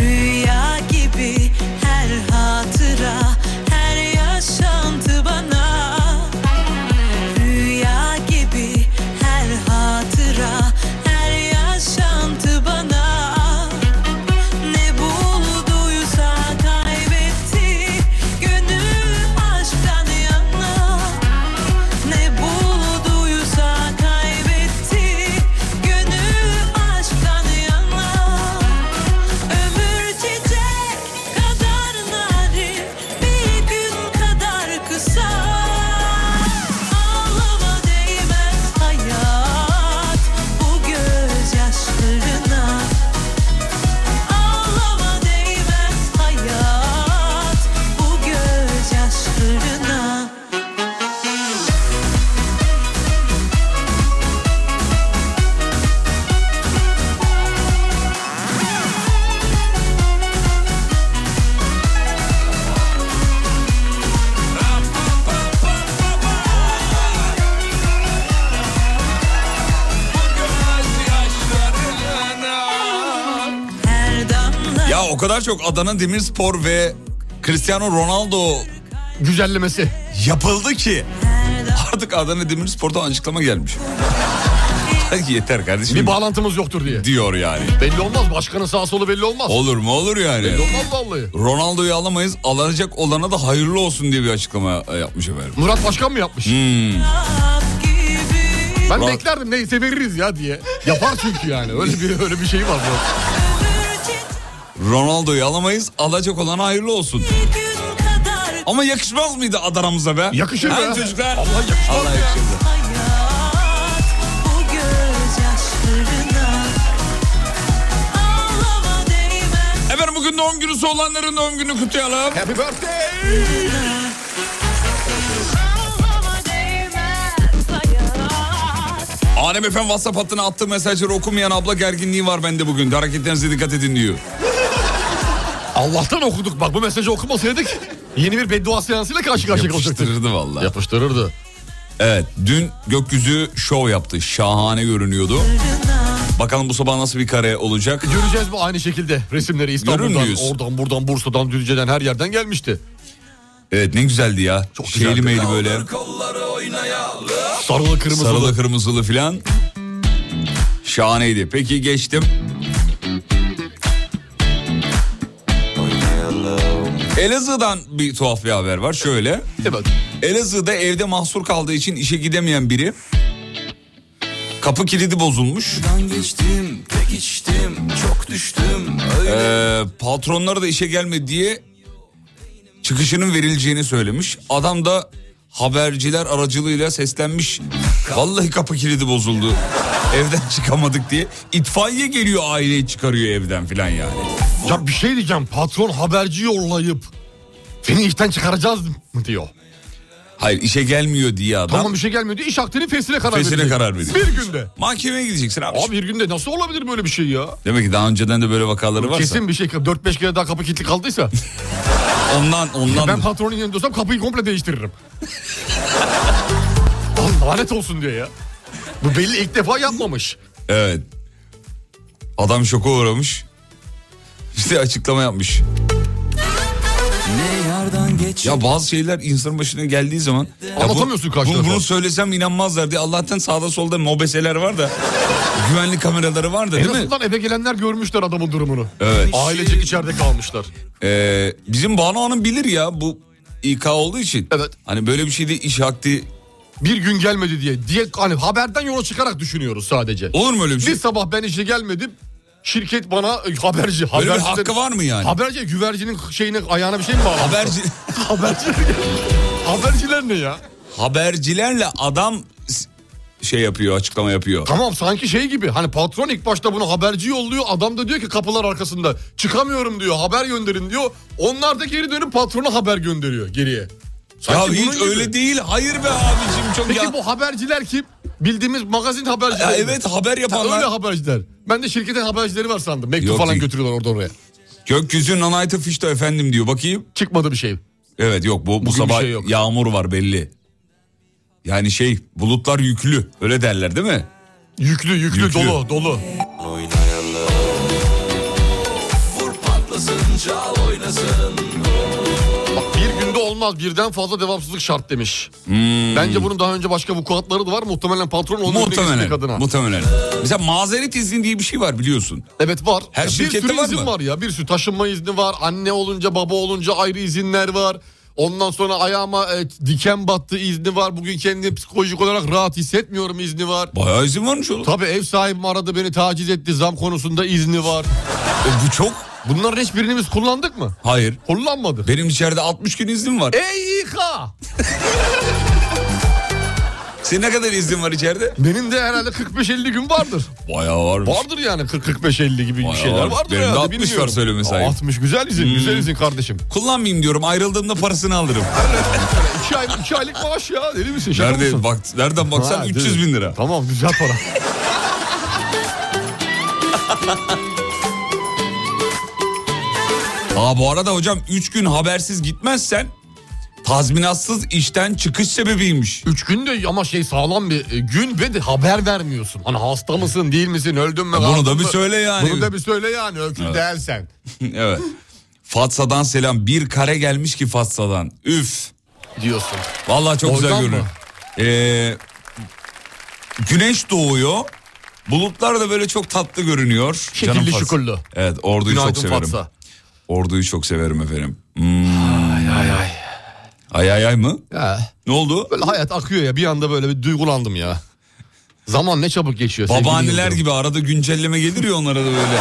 Rüya gibi her hatıra, her yaşantı bana. Rüya gibi her hatıra, her yaşantı bana. Ne bulduysa kaybetti, gönül aşktan yana. Ne bulduysa kaybetti, gönül aşktan yana. Ömür çiçek kadar narin bir gün kadar kısa Ağlama değmez hayat bu gözyaşlarına Ağlama değmez hayat bu gözyaşlarına Her damla
Ya o kadar çok Adana Demirspor ve Cristiano Ronaldo
güzellemesi
yapıldı ki artık Adana Demirspor'dan açıklama gelmiş. Yeter kardeşim.
Bir bağlantımız yoktur diye.
diyor yani.
Belli olmaz başkanın sağ solu belli olmaz.
Olur mu olur yani.
Belli olmaz vallahi.
Ronaldo'yu alamayız. Alacak olana da hayırlı olsun diye bir açıklama e, yapmış efendim.
Murat Başkan mı yapmış?
Hmm.
Ben
Murat-
beklerdim neyse veririz ya diye. Yapar çünkü yani öyle bir öyle bir şey var. bu.
Ronaldo'yu alamayız. Alacak olana hayırlı olsun. Ama yakışmaz mıydı Adana'mıza be?
Yakışır
Ha
be.
çocuklar? Allah yakışmaz.
Bu gözyaşlarına Ağlama değmez
Efendim bugün doğum günüsü olanların doğum günü kutlayalım. Happy birthday. Alem FM WhatsApp hattına attığı mesajları okumayan abla gerginliği var bende bugün. Hareketlerinize dikkat edin diyor.
Allah'tan okuduk bak bu mesajı okumasaydık yeni bir beddua seansıyla karşı karşıya kalacaktık.
Yapıştırırdı valla.
Yapıştırırdı.
Evet dün gökyüzü şov yaptı. Şahane görünüyordu. Bakalım bu sabah nasıl bir kare olacak.
Göreceğiz bu aynı şekilde resimleri
Görür
İstanbul'dan,
müyüz?
oradan, buradan, Bursa'dan, Düzce'den her yerden gelmişti.
Evet ne güzeldi ya. Çok Şeyli meyli böyle.
Sarılı kırmızılı.
Sarılı kırmızılı filan. Şahaneydi. Peki geçtim. Elazığ'dan bir tuhaf bir haber var. Şöyle. Elazığ'da evde mahsur kaldığı için işe gidemeyen biri kapı kilidi bozulmuş.
Geçtim pek içtim çok düştüm
Ee, patronları da işe gelmedi diye çıkışının verileceğini söylemiş. Adam da haberciler aracılığıyla seslenmiş. Vallahi kapı kilidi bozuldu. Evden çıkamadık diye. İtfaiye geliyor aileyi çıkarıyor evden filan yani.
Ya bir şey diyeceğim patron haberci yollayıp seni işten çıkaracağız mı diyor.
Hayır işe gelmiyor diye adam.
Tamam bir şey gelmiyor diyor iş aktinin fesline karar
Fesline
verecek.
karar veriyor.
Bir günde.
Mahkemeye gideceksin abi.
Abi bir günde nasıl olabilir böyle bir şey ya?
Demek ki daha önceden de böyle vakaları varsa.
Kesin bir şey 4-5 kere daha kapı kilitli kaldıysa.
Ondan ondan.
Ben patronun yerinde olsam kapıyı komple değiştiririm. Lan Lanet olsun diyor ya. Bu belli ilk defa yapmamış.
Evet. Adam şoka uğramış. İşte açıklama yapmış. Ya bazı şeyler insanın başına geldiği zaman... Ya bu-
Anlatamıyorsun karşı
bu-
tarafa.
Bunu söylesem inanmazlar diye Allah'tan sağda solda mobeseler var da... güvenlik kameraları var da
en
değil mi?
azından eve gelenler görmüşler adamın durumunu.
Evet.
Ailecek içeride kalmışlar.
Ee, bizim Banu Hanım bilir ya bu İK olduğu için. Evet. Hani böyle bir şeyde iş hakti...
Bir gün gelmedi diye. diye hani haberden yola çıkarak düşünüyoruz sadece.
Olur mu öyle bir şey?
Bir sabah ben işe gelmedim. Şirket bana e, haberci.
Böyle bir
haberci
hakkı var mı yani?
Haberci güvercinin şeyine ayağına bir şey mi bağlı?
Haberci.
haberci. Haberciler ne ya?
Habercilerle adam s- şey yapıyor açıklama yapıyor.
Tamam sanki şey gibi hani patron ilk başta bunu haberci yolluyor adam da diyor ki kapılar arkasında çıkamıyorum diyor haber gönderin diyor. Onlar da geri dönüp patrona haber gönderiyor geriye.
Ya hiç öyle değil. Hayır be abicim çok
Peki
ya-
bu haberciler kim? Bildiğimiz magazin habercileri.
Ya
mi?
evet, haber
Ha,
yapanlar.
Öyle haberciler. Ben de şirketin habercileri var sandım. Mektup
Yok
falan
değil.
götürüyorlar orada oraya.
Gökyüzü non-item fişte efendim diyor bakayım.
Çıkmadı bir şey.
Evet yok bu, bu
Bugün bir
sabah
şey yok.
yağmur var belli. Yani şey bulutlar yüklü öyle derler değil mi?
Yüklü yüklü, dolu dolu.
Oynayalım Vur patlasın çal oynasın
Bak bir günde olmaz birden fazla devamsızlık şart demiş.
Hmm.
Bence bunun daha önce başka vukuatları da var. Muhtemelen patron onun
Muhtemelen.
kadına.
Muhtemelen. Mesela mazeret izni diye bir şey var biliyorsun.
Evet var.
Her
bir
şirkette
sürü
var
izin
mı?
var ya. Bir sürü taşınma izni var. Anne olunca baba olunca ayrı izinler var. Ondan sonra ayağıma e, diken battı izni var. Bugün kendimi psikolojik olarak rahat hissetmiyorum izni var.
Bayağı izin varmış oğlum.
Tabii ev sahibim aradı beni taciz etti. Zam konusunda izni var.
E, bu çok.
Bunların hiçbirini biz kullandık mı?
Hayır.
Kullanmadık.
Benim içeride 60 gün iznim var.
Ey İK!
Senin ne kadar iznin var içeride?
Benim de herhalde 45-50 gün vardır.
Bayağı varmış.
Vardır yani 40-45-50 gibi
Bayağı
bir şeyler
var.
vardır
Benim de
herhalde,
60 var
bilmiyorum.
söyleme sahip.
60 güzel izin,
Hmm.
güzel izin kardeşim.
Kullanmayayım diyorum ayrıldığımda parasını alırım.
2 ay, iki aylık maaş ya deli misin? Şaka
Nerede,
mısın?
bak, nereden baksan
Ha,
300
değil.
bin lira.
Tamam güzel para.
Aa bu arada hocam 3 gün habersiz gitmezsen tazminatsız işten çıkış sebebiymiş.
3 gün de ama şey sağlam bir e, gün ve de haber vermiyorsun. Hani hasta mısın değil misin öldün mü?
Ya bunu
rahatsın
da bir
mı?
söyle yani.
Bunu da bir söyle yani ökül
Evet.
değil sen.
evet. Fatsa'dan selam. Bir kare gelmiş ki Fatsa'dan. Üf.
Diyorsun.
Vallahi çok güzel
Oradan mı?
görünüyor. Ee, güneş doğuyor. Bulutlar da böyle çok tatlı görünüyor.
Şekilli
Canım Fatsa.
şukullu.
Evet orduyu çok
Günaydın
severim.
Fatsa.
Orduyu çok severim efendim. Hmm. Ay ay ay. Ay ay ay mı?
Ya,
Ne oldu?
böyle hayat akıyor ya bir anda böyle bir duygulandım ya. Zaman ne çabuk geçiyor. sevgili
Babaanneler
Yıldırım.
gibi arada güncelleme gelir ya onlara da böyle.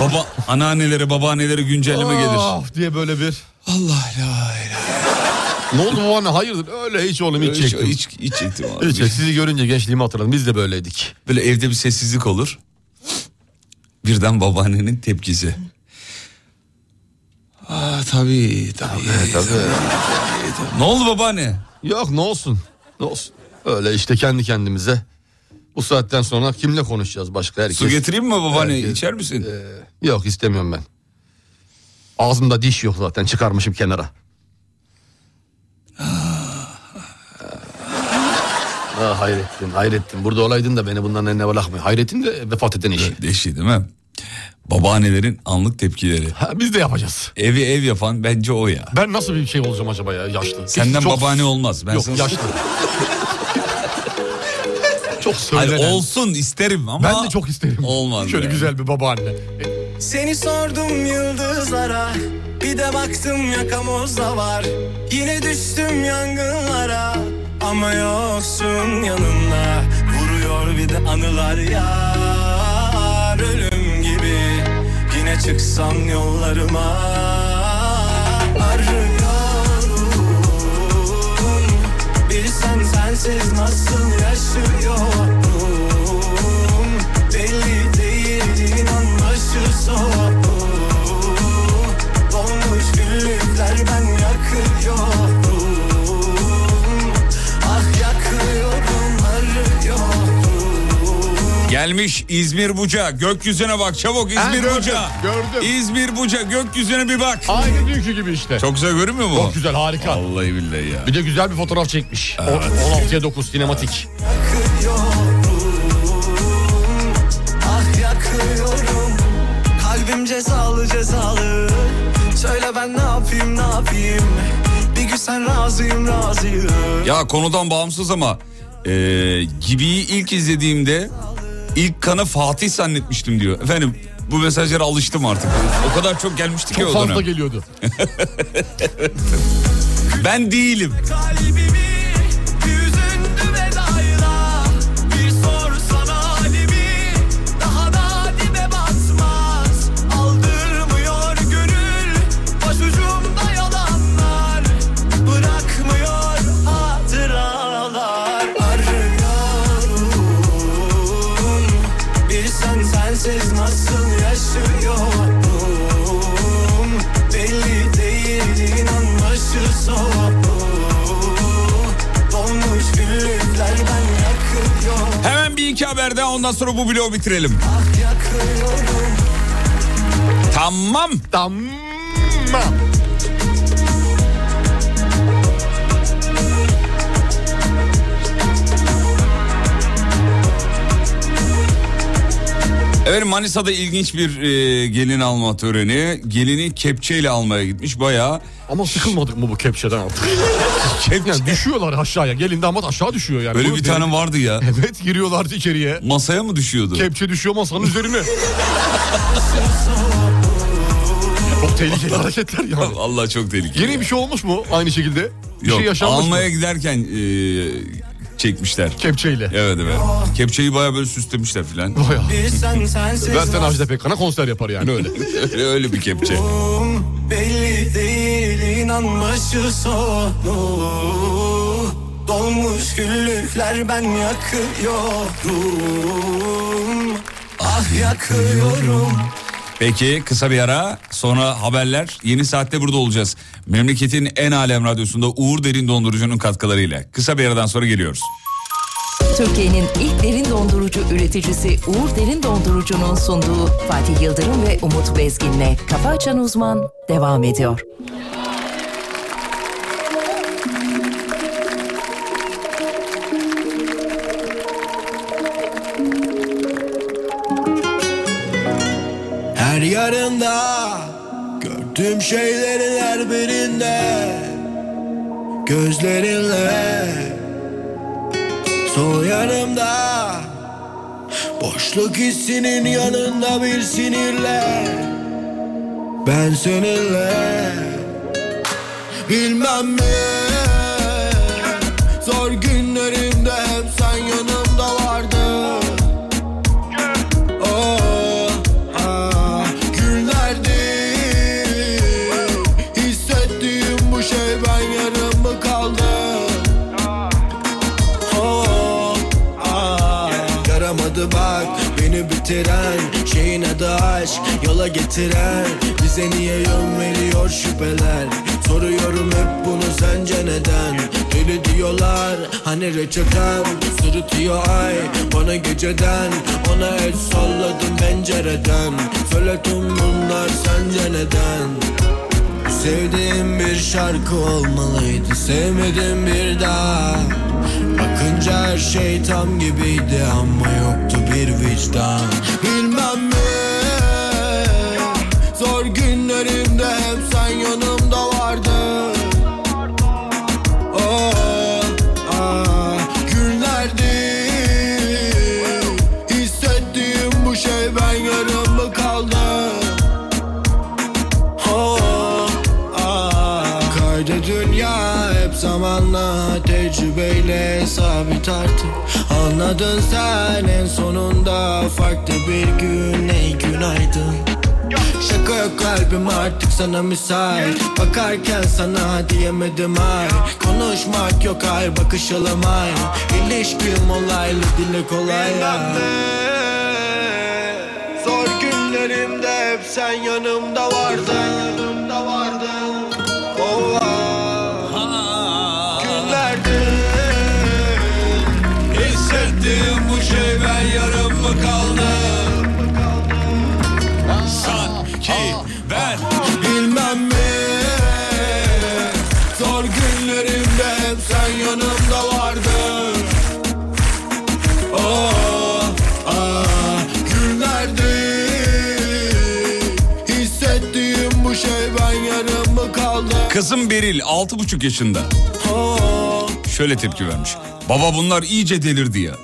Baba anneannelere babaannelere güncelleme gelir.
Ah diye böyle bir.
Allah la
Ne oldu babaanne hayırdır? Öyle hiç oğlum hiç
Hiç
çektim.
hiç hiç çektim abi.
Hiç, sizi görünce gençliğimi hatırladım. Biz de böyleydik.
Böyle evde bir sessizlik olur. Birden babaannenin tepkisi. Aa tabii tabii. Ne oldu babaanne?
Yok ne olsun. Ne olsun. Öyle işte kendi kendimize. Bu saatten sonra kimle konuşacağız başka herkes?
Su getireyim mi babaanne?
Herkes-
İçer misin?
Yok istemiyorum ben. Ağzımda diş yok zaten çıkarmışım kenara. Ah, hayrettin hayrettin burada olaydın da beni bunların eline bırakmıyor. Hayrettin de vefat eden eşi.
Deşi değil mi? Babaannelerin anlık tepkileri.
Ha, biz de yapacağız.
Evi ev yapan bence o ya.
Ben nasıl bir şey olacağım acaba ya yaşlı?
Senden
Çok-
babaanne olmaz. Ben
Yok
sana-
yaşlı. çok
Hani
söylenen.
olsun isterim ama
Ben de çok isterim.
olmaz.
Şöyle
yani.
güzel bir babaanne. E,
Seni sordum yıldızlara Bir de baktım yakamozda var Yine düştüm yangınlara Ama yoksun yanımda Vuruyor bir de anılar yar Ölüm gibi Yine çıksam yollarıma Arıyorum Bilsen sensiz nasıl yaşıyorum Deli değil inan başı soğuk Dolmuş güllükler ben yakıyorum Ah yakıyorum arıyorum
Gelmiş İzmir Buca. Gökyüzüne bak çabuk İzmir
gördüm,
Buca.
gördüm.
İzmir Buca gökyüzüne bir bak.
Aynı dünkü gibi işte.
Çok güzel görünmüyor mu?
Çok güzel harika.
Vallahi billahi ya.
Bir de güzel bir fotoğraf çekmiş. O- 16'ya 9 sinematik.
Ah yakıyorum Kalbim cezalı cezalı Söyle ben ne yapayım ne yapayım Bir gün sen razıyım razıyım
Ya konudan bağımsız ama e, Gibi'yi ilk izlediğimde ilk kanı Fatih zannetmiştim diyor. Efendim bu mesajlara alıştım artık. O kadar çok gelmişti ki
Çok
o
fazla
dönem.
geliyordu.
Ben değilim.
Kalbimi hüzünlü vedayla Bir sorsana halimi Daha da dibe basma
haberlerde ondan sonra bu bloğu bitirelim. Tamam.
Tamam.
Efendim Manisa'da ilginç bir e, gelin alma töreni. Gelini kepçeyle almaya gitmiş bayağı.
Ama sıkılmadık mı bu kepçeden artık? Yani düşüyorlar aşağıya. Gelin damat aşağı düşüyor yani.
Böyle
Bu
bir tane vardı ya.
Evet giriyorlardı içeriye.
Masaya mı düşüyordu?
Kepçe düşüyor masanın üzerine. Çok tehlikeli hareketler yani.
Allah çok tehlikeli.
Yeni bir şey olmuş mu aynı şekilde? Bir
Yok
şey yaşanmış
almaya
mı?
giderken e, çekmişler.
Kepçeyle.
Evet evet. Kepçeyi bayağı böyle süslemişler filan.
Bayağı.
Bir sen sensiz
Zaten Ajda Pekkan'a konser yapar yani öyle.
öyle, öyle bir kepçe.
Belli değil inan başı sonu Dolmuş güllükler ben yakıyorum Ah yakıyorum
Peki kısa bir ara sonra haberler yeni saatte burada olacağız. Memleketin en alem radyosunda Uğur Derin Dondurucu'nun katkılarıyla. Kısa bir aradan sonra geliyoruz.
Türkiye'nin ilk derin dondurucu üreticisi Uğur Derin Dondurucu'nun sunduğu Fatih Yıldırım ve Umut Bezgin'le Kafa Açan Uzman devam ediyor.
Her yarında gördüğüm şeylerin her birinde Gözlerinle Sol yanımda Boşluk hissinin yanında bir sinirle Ben seninle Bilmem mi Zor günlerimde hep sen yanımda vardın Oh, ah, günlerdi Hissettiğim bu şey ben yarım mı kaldı Oh, ah, Yaramadı bak beni bitiren Şeyin adı aşk yola getiren Bize niye yön veriyor şüpheler Soruyorum hep bunu sence neden Deli diyorlar hani reçeten Sırıtıyor ay bana geceden Ona el salladım pencereden Söyle tüm bunlar sence neden Sevdiğim bir şarkı olmalıydı Sevmedim bir daha Bakınca her şey tam gibiydi Ama yoktu bir vicdan Bilmem mi Zor günlerimde hep sen yanımda vardın Oh, ah, günlerdi Hissettiğim bu şey ben yarım mı kaldı Oh, ah. Kaydı dünya hep zamanla tecrübeyle sabit artık Anladın sen en sonunda farklı bir gün ey günaydın Şaka yok kalbim artık sana müsait Bakarken sana diyemedim ay Konuşmak yok ay bakış alamay İlişkim olaylı dile kolay Zor günlerimde hep sen yanımda vardın Yanımda vardın Günlerde
Hissettiğim bu şey ben yarım mı kaldı Sanki ben
Bilmem mi Zor günlerimde hep sen yanımda vardın Oh, ah, günlerdi Hissettiğim bu şey ben yarım mı kaldı
Kızım Beril 6,5 yaşında.
Oh.
Şöyle tepki vermiş. Baba bunlar iyice delirdi ya.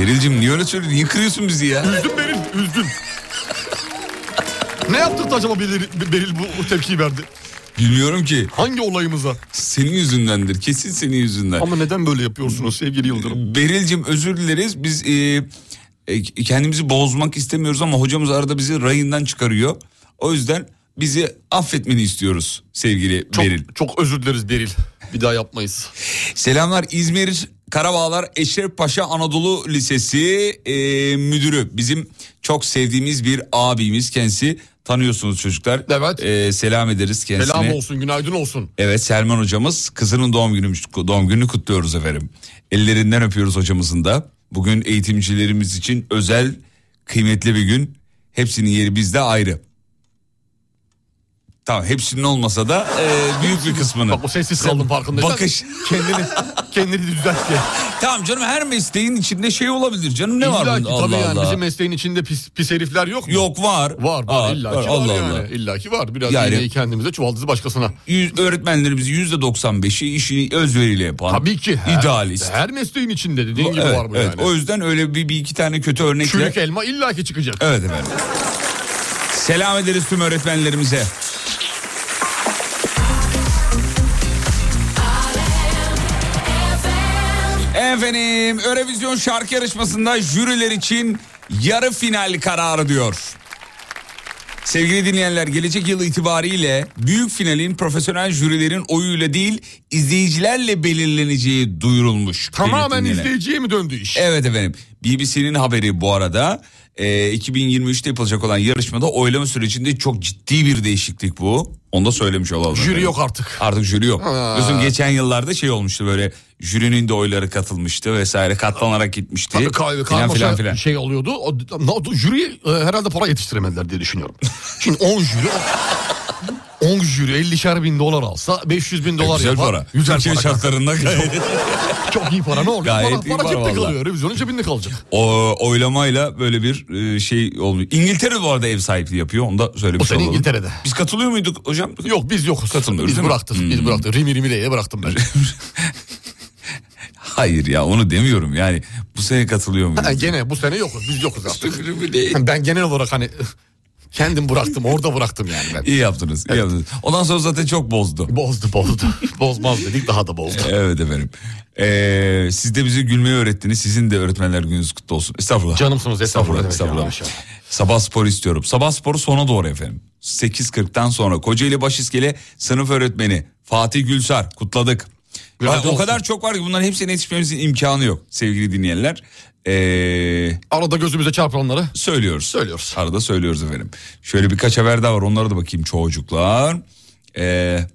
Beril'cim niye öyle söyledin? Niye kırıyorsun bizi ya?
Üzdün Beril, üzdün. Ne yaptık da acaba Beril, Beril bu tepkiyi verdi?
Bilmiyorum ki.
Hangi olayımıza?
Senin yüzündendir. Kesin senin yüzünden.
Ama neden böyle yapıyorsunuz sevgili Yıldırım?
Beril'cim özür dileriz. Biz e, e, kendimizi bozmak istemiyoruz ama hocamız arada bizi rayından çıkarıyor. O yüzden bizi affetmeni istiyoruz sevgili Beril.
Çok özür dileriz Beril. Bir daha yapmayız.
Selamlar İzmir Karabağlar Eşref Paşa Anadolu Lisesi e, müdürü. Bizim çok sevdiğimiz bir abimiz kendisi. tanıyorsunuz çocuklar. Evet. selam ederiz kendisine.
Selam olsun günaydın olsun.
Evet Selman hocamız kızının doğum günü doğum gününü kutluyoruz efendim. Ellerinden öpüyoruz hocamızın da. Bugün eğitimcilerimiz için özel kıymetli bir gün. Hepsinin yeri bizde ayrı. Tamam hepsinin olmasa da e, büyük bir kısmını. Bak
o sessiz kaldım farkındaysan.
Bakış.
Kendini, kendini düzeltti.
Tamam canım her mesleğin içinde şey olabilir canım ne var
İlla ki
bunda
tabii
Allah
yani
Allah.
bizim mesleğin içinde pis, pis herifler yok mu?
Yok var.
Var var
Var,
illa
var,
ki var,
Allah
yani.
Allah.
İlla ki var. Biraz
Yani-
iğneyi kendimize çuvaldızı başkasına.
Yüz, öğretmenlerimizin yüzde 95'i işini özveriyle yapan.
Tabii ki. Her,
idealist.
Her mesleğin içinde dediğin gibi
Evet,
var bu
evet.
yani.
O yüzden öyle bir, bir iki tane kötü örnekle.
Çürük elma illa ki çıkacak.
Evet efendim. Selam ederiz tüm öğretmenlerimize. Efendim Eurovision şarkı yarışmasında jüriler için yarı final kararı diyor. Sevgili dinleyenler gelecek yıl itibariyle büyük finalin profesyonel jürilerin oyuyla değil izleyicilerle belirleneceği duyurulmuş.
Tamamen
Belirtilen.
izleyiciye mi döndü iş?
Evet efendim. BBC'nin haberi bu arada. Ee, 2023'te yapılacak olan yarışmada oylama sürecinde çok ciddi bir değişiklik bu. Onu da söylemiş olalım.
Jüri yok artık.
Artık jüri yok.
Ha.
Gözüm geçen yıllarda şey olmuştu böyle jürinin de oyları katılmıştı vesaire katlanarak gitmişti.
Tabii kahve
filan filan filan.
şey oluyordu. O, na- jüri e, herhalde para yetiştiremediler diye düşünüyorum. Şimdi 10 jüri 10 jüri 50'şer bin dolar alsa 500 bin dolar
E, güzel
yapar.
para.
Güzel
Türkiye
para.
şartlarında gayet-
Çok- Çok iyi para ne oluyor?
Gayet
para,
iyi
para
para
cepte
vallahi.
kalıyor. Revizyonun cebinde kalacak.
O oylamayla böyle bir e, şey olmuyor. İngiltere bu arada ev sahipliği yapıyor. Onu da söylemiş
O sene
olalım.
İngiltere'de.
Biz katılıyor muyduk hocam?
Yok biz yok.
Katılmıyoruz
Biz
değil mi?
bıraktık. Biz bıraktık. Rimi rimileyle bıraktım ben.
Hayır ya onu demiyorum yani. Bu sene katılıyor muyuz?
Ha, gene bu sene yokuz. Biz yokuz artık. ben genel olarak hani kendim bıraktım. Orada bıraktım yani ben.
İyi yaptınız. iyi yaptınız. Ondan sonra zaten çok bozdu.
Bozdu bozdu. Bozmaz dedik daha da bozdu.
Evet efendim. Ee, siz de bizi gülmeyi öğrettiniz. Sizin de öğretmenler gününüz kutlu olsun. Estağfurullah.
Canımsınız, estağfurullah demek
Estağfurullah.
yani,
estağfurullah. Sabah spor istiyorum. Sabah sporu sona doğru efendim. 8.40'tan sonra Kocaeli Başiskele sınıf öğretmeni Fatih Gülsar kutladık.
Günaydın
Bak, o
olsun.
kadar çok var ki bunların hepsine yetişmemizin imkanı yok sevgili dinleyenler. Ee,
Arada gözümüze çarpanları.
Söylüyoruz. Söylüyoruz. Arada söylüyoruz efendim. Şöyle birkaç haber daha var onlara da bakayım çocuklar. Ee,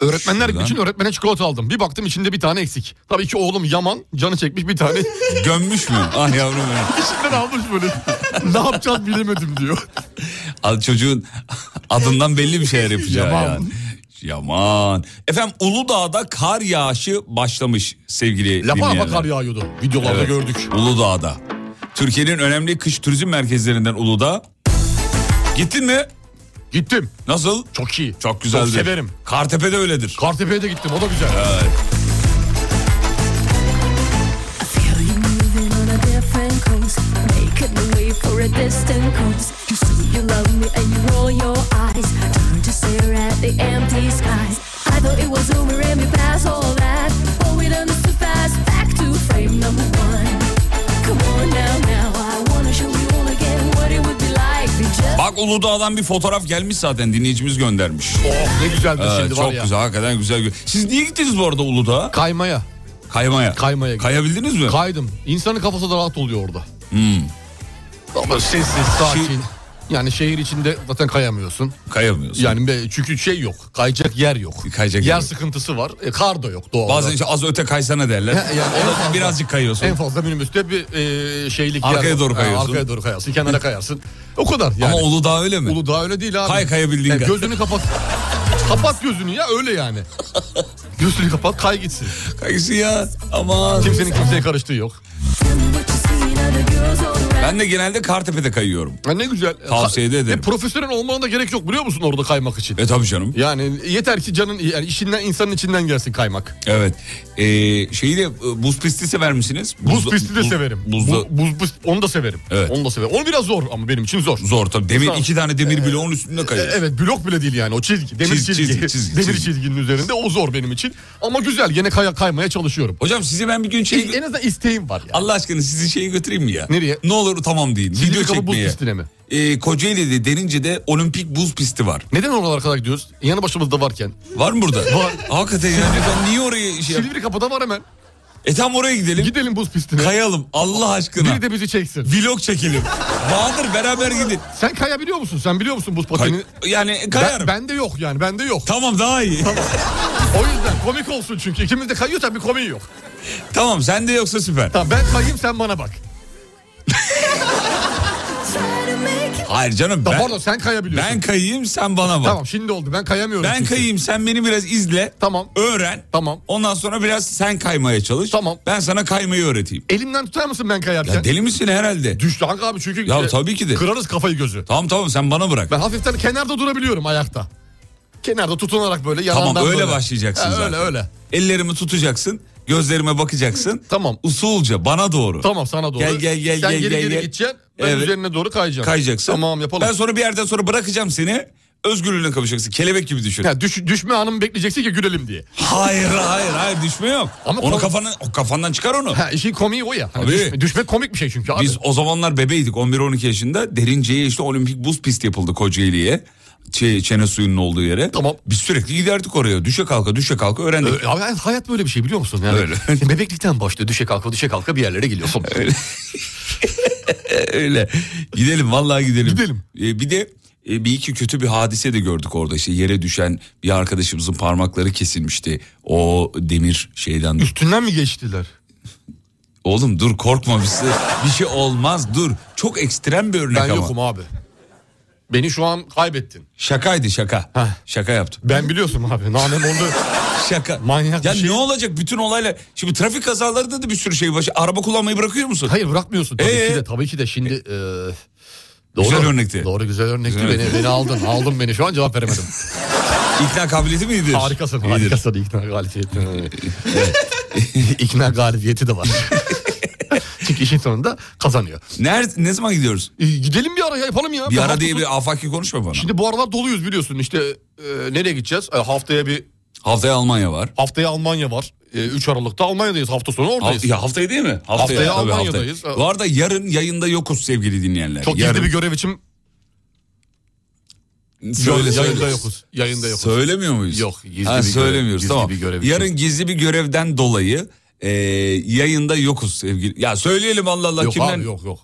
Öğretmenler
Şuradan.
için öğretmene çikolata aldım. Bir baktım içinde bir tane eksik. Tabii ki oğlum Yaman canı çekmiş bir tane.
Gömmüş mü? Ah yavrum benim.
İçinden almış böyle. ne yapacağız bilemedim diyor.
Al çocuğun adından belli bir şeyler yapacağı
Yaman.
yani. Yaman. Efendim Uludağ'da kar yağışı başlamış sevgili
Lapa lapa
dinleyenler.
kar yağıyordu. Videolarda
Evet,
gördük.
Uludağ'da. Türkiye'nin önemli kış turizm merkezlerinden Uludağ. Gittin mi?
Gittim.
Nasıl?
Çok iyi.
Çok güzeldir.
Çok severim.
Kartepe'de öyledir.
Kartepe'ye de gittim o da güzel.
Evet.
Living on a different coast, making the way for a distant coast. You say you love me and you roll your eyes, turn to stare at the empty skies. I thought it was over and we passed all that, but we done this too fast. Back to frame number one. Come on now, now I wanna show you all again what it would be like to just.
Bak Uludağ'dan bir fotoğraf gelmiş zaten dinleyicimiz göndermiş.
Oh ne güzeldir
Evet,
şimdi
çok
var ya.
güzel hakikaten güzel. gö- Siz niye gittiniz bu arada Uludağ'a?
Kaymaya.
Kaymaya.
Kaymaya. gittim.
Kayabildiniz mi?
Kaydım. İnsanın kafası da rahat oluyor orada.
Hmm.
Ama sessiz, sakin. Yani şehir içinde zaten kayamıyorsun.
Kayamıyorsun.
Yani be- çünkü şey yok. Kayacak yer yok.
Kayacak
yer
yer yok.
sıkıntısı var. E, kar da yok doğal.
Bazen
olarak.
işte az öte kaysana derler.
He, yani en
Ona
fazla-
birazcık kayıyorsun.
En fazla minibüste bir e, şeylik
Arkaya
var.
doğru
Ha,
kayıyorsun.
arkaya doğru kayarsın. Kenara kayarsın. O kadar yani.
Ama Uludağ öyle mi?
Uludağ öyle değil abi.
Kay kayabildiğin
Yani
kadar.
Gözünü kapat. kapat gözünü ya öyle yani. gözünü kapat kay gitsin.
Kay gitsin ya. Aman.
Kimsenin kimseye karıştığı yok.
Ben de genelde Kartepe'de kayıyorum.
Ya ne güzel.
Tavsiye de ederim.
E, profesyonel olmana da gerek yok biliyor musun orada kaymak için?
E tabii canım.
Yani yeter ki canın yani işinden insanın içinden gelsin kaymak.
Evet. Ee, şeyi de e, buz pisti sever misiniz?
Buz
Buzda-
pisti de
buz-
severim.
Buzda.
Bu- buz, buz- onu da severim.
Evet.
Onu da severim. Onu biraz zor ama benim için zor.
Zor tabii. Demir,
Zor.
iki tane demir bloğun üstünde
E,
kayıyor.
Evet blok bile değil yani o çizgi. Demir
Çizgi,
çizgi.
çizgi, çizgi,
demir
çizgi.
çizginin üzerinde o zor benim için. Ama güzel gene kaya, kaymaya çalışıyorum. E,
Hocam size ben bir gün şey...
En azından isteğim var.
Allah aşkına sizi şeye götüreyim mi ya?
Nereye?
Ne olur tamam deyin.
Çizgi
Video
kapı buz
çekmeye.
pistine mi?
Ee, Kocaeli'de Derince'de olimpik buz pisti var.
Neden oralara kadar gidiyoruz? Yanı başımızda varken.
Var mı burada?
Var.
Hakikaten yani ben niye oraya şey yap-
Silivri kapıda var hemen.
E tam oraya gidelim. Gidelim buz pistine. Kayalım Allah aşkına. Biri de bizi çeksin. Vlog çekelim. Bahadır beraber gidin.
Sen kayabiliyor musun? Sen biliyor musun buz patenini?
yani kayarım.
Ben, bende yok yani bende yok.
Tamam daha iyi.
o yüzden komik olsun çünkü ikimiz de kayıyor tabii komiği yok.
Tamam sen de yoksa süper.
Tamam ben kayayım sen bana bak.
Hayır canım ben.
Pardon sen kayabiliyorsun.
Ben kayayım sen bana bak.
Tamam şimdi oldu ben kayamıyorum.
Ben
çünkü.
kayayım sen beni biraz izle. Tamam. Öğren. Tamam. Ondan sonra biraz sen kaymaya çalış. Tamam. Ben sana kaymayı öğreteyim.
Elimden tutar mısın ben kayarken?
Ya deli misin herhalde?
Düştü Hakkı abi çünkü. şey,
Ya tabii ki de.
Kırarız kafayı gözü.
Tamam tamam sen bana bırak.
Ben hafiften kenarda durabiliyorum ayakta. Kenarda tutunarak böyle yalandan
tamam öyle
böyle.
başlayacaksın
Ha,
zaten.
Öyle öyle.
Ellerimi tutacaksın. Gözlerime bakacaksın. Tamam. Usulca bana doğru.
Tamam sana doğru.
Gel gel gel
Sen
gel
geri
gel.
geri
gel.
gideceksin. Ben
Evet.
üzerine doğru kayacağım.
Kayacaksın.
Tamam yapalım.
Ben sonra bir yerden sonra bırakacağım seni. Özgürlüğüne kavuşacaksın. Kelebek gibi düşün.
Ya düş, düşme anımı bekleyeceksin ki gülelim diye.
Hayır hayır hayır düşme yok.
Ama
onu
komik-
kafanı, o kafandan çıkar onu.
Ha, işin komiği o ya. Hani
Tabii.
düşme, düşmek komik bir şey çünkü abi.
Biz o zamanlar bebeydik 11-12 yaşında. Derince'ye işte olimpik buz pisti yapıldı Kocaeli'ye. Ç- çene suyunun olduğu yere. Tamam. Biz sürekli giderdik oraya. Düşe kalka düşe kalka öğrendik.
Ö- Abi hayat böyle bir şey biliyor musun? Yani
Öyle.
Bebeklikten başlıyor. Düşe kalka düşe kalka bir yerlere geliyorsun.
Öyle. Gidelim vallahi gidelim. Gidelim. bir de e, bir iki kötü bir hadise de gördük orada. İşte yere düşen bir arkadaşımızın parmakları kesilmişti. O demir şeyden.
Üstünden mi geçtiler?
Oğlum dur korkma bir şey, bir şey olmaz dur. Çok ekstrem bir örnek
Ben
ama.
yokum abi. Beni şu an kaybettin.
Şakaydı şaka. Şaka yaptım.
Ben biliyorsun abi. Nanem oldu.
Şaka.
Manyak
Ya
bir şey.
ne olacak bütün olaylar? Şimdi trafik kazalarında da bir sürü şey var. Araba kullanmayı bırakıyor musun?
Hayır bırakmıyorsun tabii
Ee?
ki de. Tabii ki de şimdi... e, doğru.
Güzel örnekti.
Doğru güzel örnekti.
Güzel
Beni,
örnekti.
beni aldın. Aldın beni. Şu an cevap veremedim.
İkna kabiliyeti mi iyidir?
Harikasın.
İyidir. Ee,
Harikasın. İkna galibiyeti. Evet. İkna galibiyeti de var. Çünkü işin sonunda kazanıyor.
Nerede, ne zaman gidiyoruz?
E, gidelim bir ara ya, yapalım ya.
bir
Ben
ara
hafta
diye
sonu-
bir afaki konuşma bana.
Şimdi bu aralar doluyuz biliyorsun işte e, nereye gideceğiz? E, haftaya bir...
Haftaya Almanya var.
Haftaya Almanya var. E, 3 Aralık'ta Almanya'dayız hafta sonu oradayız.
Ha- ya haftaya değil mi?
Haftaya,
tabii
Almanya'dayız.
haftaya. Bu arada yarın yayında yokuz sevgili dinleyenler.
Çok
yarın.
gizli bir görev için
Söyle, söyle.
yayında yokuz. Yayında yokuz.
Söylemiyor muyuz?
Yok, gizli bir
ha,
görev-
söylemiyoruz
gizli
tamam.
bir görev için.
yarın gizli bir görevden dolayı e, yayında yokuz sevgili. Ya söyleyelim Allah Allah
Yok
kimden?
abi, yok yok.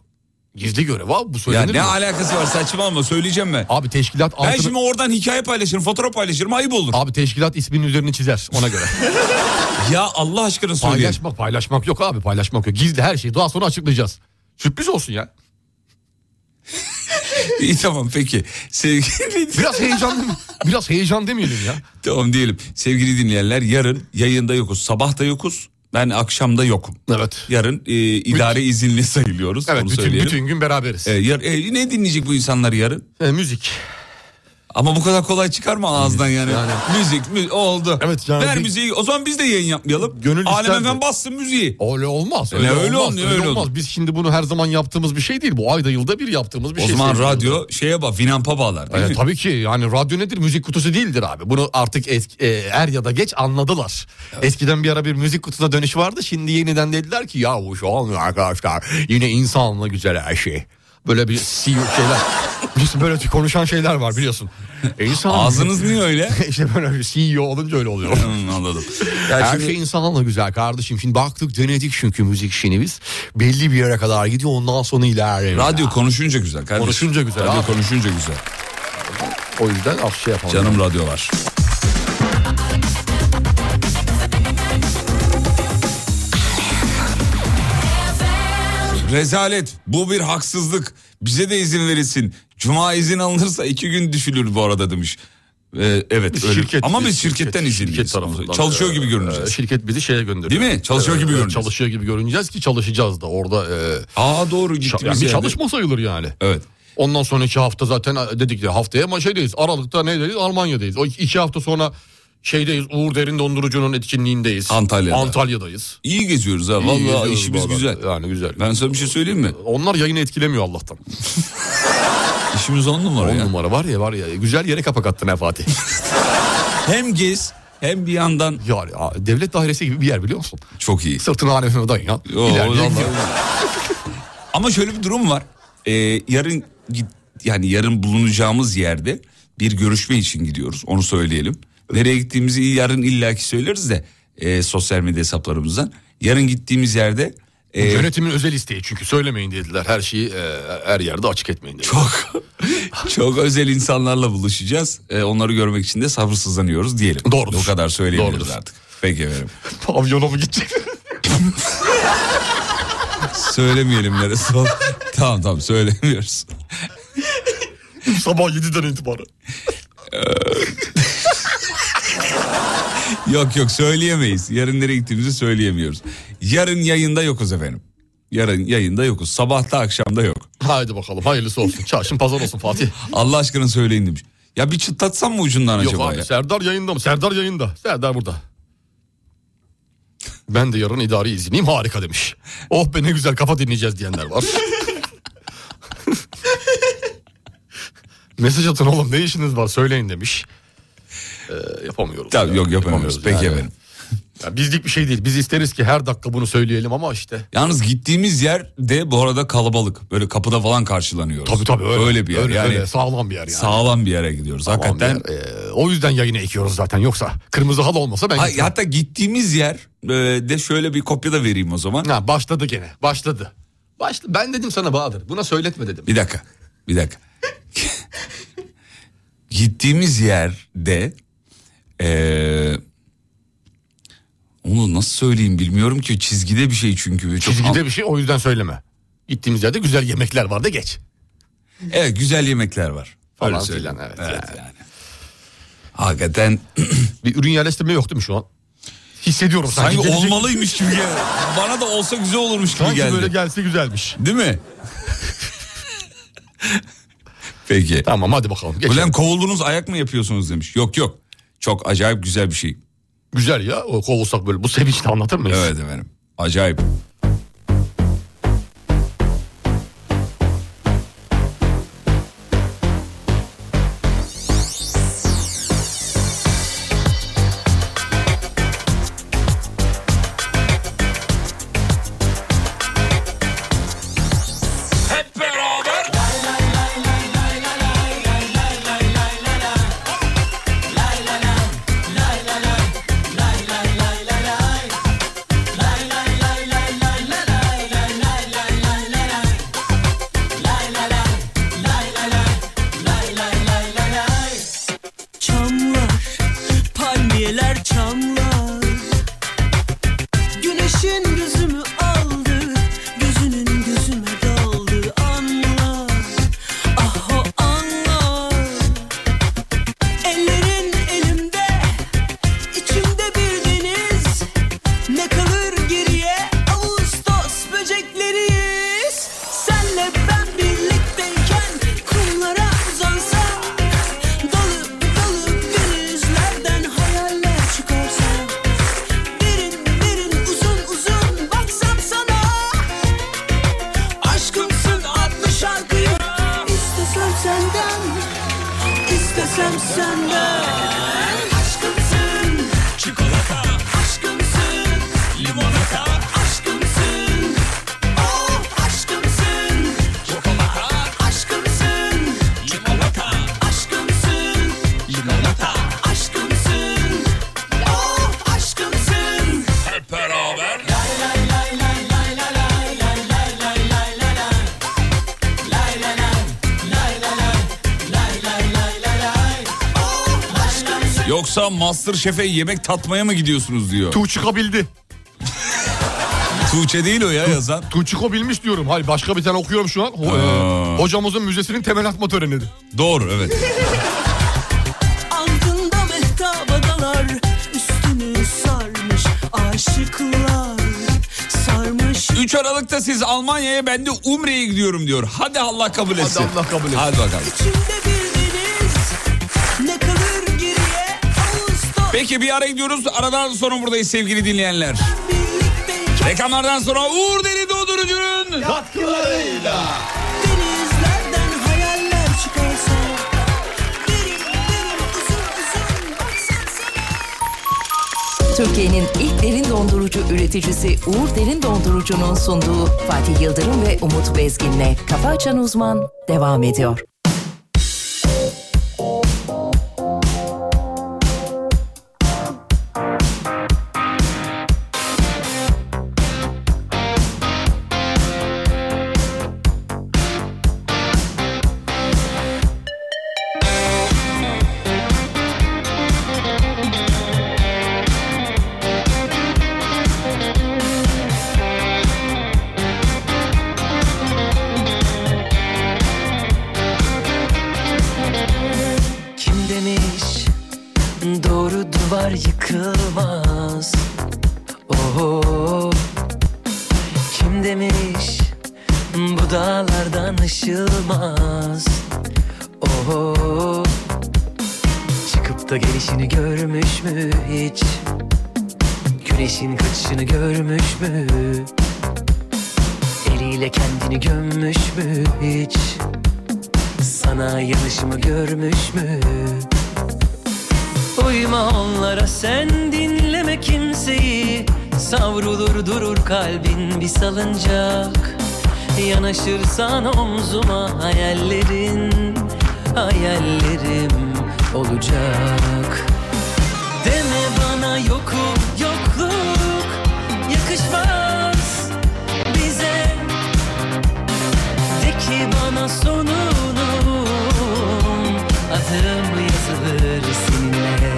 Gizli görev abi bu
Ya
söylenir
ne
mi?
alakası var saçmalama söyleyeceğim ben.
Abi teşkilat altını...
Ben şimdi oradan hikaye paylaşırım, fotoğraf paylaşırım ayıp olur.
Abi teşkilat isminin üzerini çizer ona göre.
ya Allah aşkına söyleyin.
paylaşmak paylaşmak yok abi paylaşmak yok. Gizli her şeyi daha sonra açıklayacağız. Sürpriz olsun ya.
İyi tamam peki. Sevgili
Biraz heyecan biraz heyecan demeyelim ya.
Tamam diyelim. Sevgili dinleyenler yarın yayında yokuz. Sabah da yokuz. Ben akşamda yokum.
Evet.
Yarın e, idare izinli sayılıyoruz.
Evet
onu
bütün,
söyleyelim.
bütün gün beraberiz.
E, yar- e, ne dinleyecek bu insanlar yarın?
E, müzik.
Ama bu kadar kolay çıkarma ağızdan yani. Müzik, mü- oldu.
Evet yani
Ver
bir-
müziği. O zaman biz de yayın yapmayalım.
Gönül
Alem
isterdi.
efendim bassın müziği.
Öyle olmaz. Öyle,
E, Ne öyle
öyle olmaz.
olmuyor,
öyle,
öyle
olmaz.
olmuyor.
Biz şimdi bunu her zaman yaptığımız bir şey değil. Bu ayda yılda bir yaptığımız bir
o
şey.
zaman
Sevgili
radyo şeye bak Vinampa bağlar değil
Evet,
mi?
E, tabii ki yani radyo nedir müzik kutusu değildir abi. Bunu artık eski, e, er ya da geç anladılar. Eskiden bir ara bir müzik kutusuna dönüş vardı. Şimdi yeniden dediler ki ya bu şu olmuyor arkadaşlar. Yine insanla güzel her şey. Böyle bir si- şeyler. Biliyorsun böyle konuşan şeyler var biliyorsun. E, İnsan,
Ağzınız niye öyle?
işte böyle bir CEO olunca öyle oluyor.
Hmm, anladım. Ya
Her
şimdi-
şey insanla güzel kardeşim. Şimdi baktık denedik çünkü müzik işini biz. Belli bir yere kadar gidiyor ondan sonra ilerliyor.
Radyo konuşunca güzel kardeşim.
Konuşunca güzel
Radyo
abi.
konuşunca güzel.
O yüzden af şey yapalım.
Canım radyo var. Rezalet. Bu bir haksızlık. Bize de izin verilsin. Cuma izin alınırsa iki gün düşülür bu arada demiş. Ee, evet
Biz
öyle.
şirket-
Ama biz
biz
şirketten
şirket-
izinliyiz.
şirket tarafından,
Çalışıyor
e,
gibi
e,
görüneceğiz.
Şirket bizi şeye gönderiyor.
Değil mi? Çalışıyor gibi
E,
görüneceğiz.
Çalışıyor gibi görüneceğiz ki çalışacağız da orada. E,
Aa doğru
ça-
gittiğimiz
yani bir
yerde.
çalışma sayılır yani.
Evet.
Ondan sonraki hafta zaten e, dedik ya haftaya ama şeydeyiz. Aralıkta nedeyiz? Almanya'dayız. O iki hafta sonra şeydeyiz. Uğur Derin Dondurucu'nun etkinliğindeyiz.
Antalya'da.
Antalya'dayız.
İyi geziyoruz ha.
İyi
Vallahi
geziyoruz
işimiz
vallahi.
güzel.
Yani güzel.
Ben sana bir şey söyleyeyim mi?
Onlar yayını etkilemiyor Allah'tan.
İşimiz on numara
On
ya.
numara var ya var ya. Güzel yere kapak attın ha Fatih.
Hem gez hem bir yandan...
Ya, ya, devlet dairesi gibi bir yer biliyor musun?
Çok iyi.
Sırtını alemine dayın ya.
Yo,
İleride-
vallahi. Ama şöyle bir durum var. Ee, yarın git- yani yarın bulunacağımız yerde bir görüşme için gidiyoruz. Onu söyleyelim. Nereye gittiğimizi yarın illaki söyleriz de e, sosyal medya hesaplarımızdan. Yarın gittiğimiz yerde e,
Yönetimin özel isteği çünkü söylemeyin dediler. Her şeyi e, her yerde açık etmeyin dediler. Çok.
çok özel insanlarla buluşacağız. E, onları görmek için de sabırsızlanıyoruz diyelim. Doğrudur. O kadar söyleyebiliriz artık. Peki efendim.
Pavyona mı gidecek?
Söylemeyelim neresi ol. tamam tamam söylemiyoruz.
Sabah 7'den itibaren.
Yok yok söyleyemeyiz. Yarın nereye gittiğimizi söyleyemiyoruz. Yarın yayında yokuz efendim. Yarın yayında yokuz. Sabahta akşamda yok.
Haydi bakalım hayırlısı olsun. Çarşın pazar olsun Fatih.
Allah aşkına söyleyin demiş. Ya bir çıtlatsam mı ucundan
Yok
acaba
abi
ya?
Serdar yayında mı? Serdar yayında. Serdar burada. Ben de yarın idari izinliyim harika demiş. Oh be ne güzel kafa dinleyeceğiz diyenler var. Mesaj atın oğlum ne işiniz var söyleyin demiş. Ee, yapamıyoruz.
Tamam, yok, yapamıyoruz. Peki efendim.
Ya bizlik bir şey değil. Biz isteriz ki her dakika bunu söyleyelim ama işte.
Yalnız gittiğimiz yer de bu arada kalabalık. Böyle kapıda falan karşılanıyoruz.
Tabii tabii öyle.
bir yer.
Öyle,
yani
öyle, sağlam bir yer yani.
Sağlam bir yere gidiyoruz. Hakikaten.
Ee, o yüzden yayını ekiyoruz zaten yoksa. Kırmızı halı olmasa ben
Ha,
gitmem.
hatta gittiğimiz yer e, de şöyle bir kopya da vereyim o zaman.
Ha, başladı gene. Başladı. Başla, ben dedim sana Bahadır. Buna söyletme dedim.
Bir dakika. Bir dakika. Gittiğimiz yerde eee onu nasıl söyleyeyim bilmiyorum ki çizgide bir şey çünkü. Çok
Çizgide bir şey o yüzden söyleme. Gittiğimiz yerde güzel yemekler vardı geç.
Evet güzel yemekler var.
Falan
Öyle söyleyeyim.
filan evet. yani.
Hakikaten
Bir ürün yerleştirme yok değil mi şu an? Hissediyorum sanki.
sanki
gelecek-
olmalıymış gibi geldi. Bana da olsa güzel olurmuş gibi
Sanki
geldi.
böyle gelse güzelmiş.
Değil mi? Peki.
Tamam hadi bakalım. Geçelim.
Ulan kovuldunuz ayak mı yapıyorsunuz demiş. Yok yok. Çok acayip güzel bir şey.
Güzel ya o kovulsak böyle bu sevinçle anlatır mıyız?
Evet efendim. Acayip.
Hep beraber.
Çamlar, palmiyeler çamlar Güneşin gözümü aldı, gözünün gözüme daldı Anla, ah o anla Ellerin elimde, içimde bir deniz Ne kalır geriye, Ağustos böcekleriyiz Senle ben birlikteyken, kumlara uzansam Dalıp dalıp denizlerden hayaller çıkarsa Derin derin uzun uzun baksam sana Aşkımsın adlı şarkıyı İstesem senden İstesem senden Aşkımsın Çikolata Aşkımsın Limonata Aşkımsın Oh aşkımsın Çikolata Aşkımsın Limonata Aşkımsın Limonata Aşkımsın Oh aşkımsın Hep beraber Lay lay lay lay lay lay lay lay lay lay lay lay lay Lay lay lay lay lay lay lay lay lay lay lay Oh aşkımsın
Yoksa Master Şef'e yemek tatmaya mı gidiyorsunuz diyor.
Tu çıkabildi.
Tuğçe değil o ya yazan.
Tuçiko bilmiş diyorum. Hayır başka bir tane okuyorum şu an. Ho-
Aa.
e, hocamızın müzesinin temel atma töreni.
Doğru evet.
Altında mehtap adalar Üstünü sarmış aşıklar Sarmış
3 Aralık'ta siz Almanya'ya ben de Umre'ye gidiyorum diyor. Hadi Allah kabul etsin.
Allah kabul etsin.
Hadi bakalım.
içimde bir deniz Ne kalır geriye Ağustos
Peki bir ara gidiyoruz. Aradan sonra buradayız sevgili dinleyenler.
birlikteyken
Reklamlardan sonra Uğur Deli Dondurucu'nun...
Katkılarıyla Denizlerden hayaller çıkarsa Derin derin uzun uzun baksan sana
Türkiye'nin ilk derin dondurucu üreticisi Uğur Derin Dondurucu'nun sunduğu Fatih Yıldırım ve Umut Bezgin'le Kafa Açan Uzman devam ediyor.
demiş Doğru duvar yıkılmaz Oho Kim demiş Bu dağlardan aşılmaz Oho Çıkıp da gelişini görmüş mü hiç Güneşin kaçışını görmüş mü Eliyle kendini gömmüş mü hiç Sana yanışımı görmüş mü Uyma onlara sen dinleme kimseyi Savrulur durur kalbin bir salıncak Yanaşırsan omzuma hayallerin Hayallerim olacak Deme bana yokum yokluk yakışmaz bize De ki bana sonunum adım yazılır seninle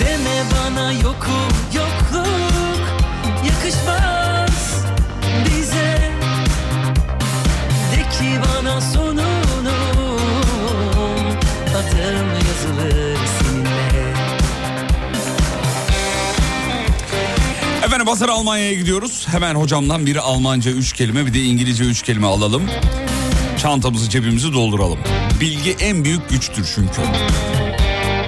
Deme bana yokum yokluk yakışmaz bize De ki bana sonunum adım yazılır seninle
Efendim Basar Almanya'ya gidiyoruz. Hemen hocamdan bir Almanca 3 kelime bir de İngilizce 3 kelime alalım. Çantamızı cebimizi dolduralım. Bilgi en büyük güçtür çünkü.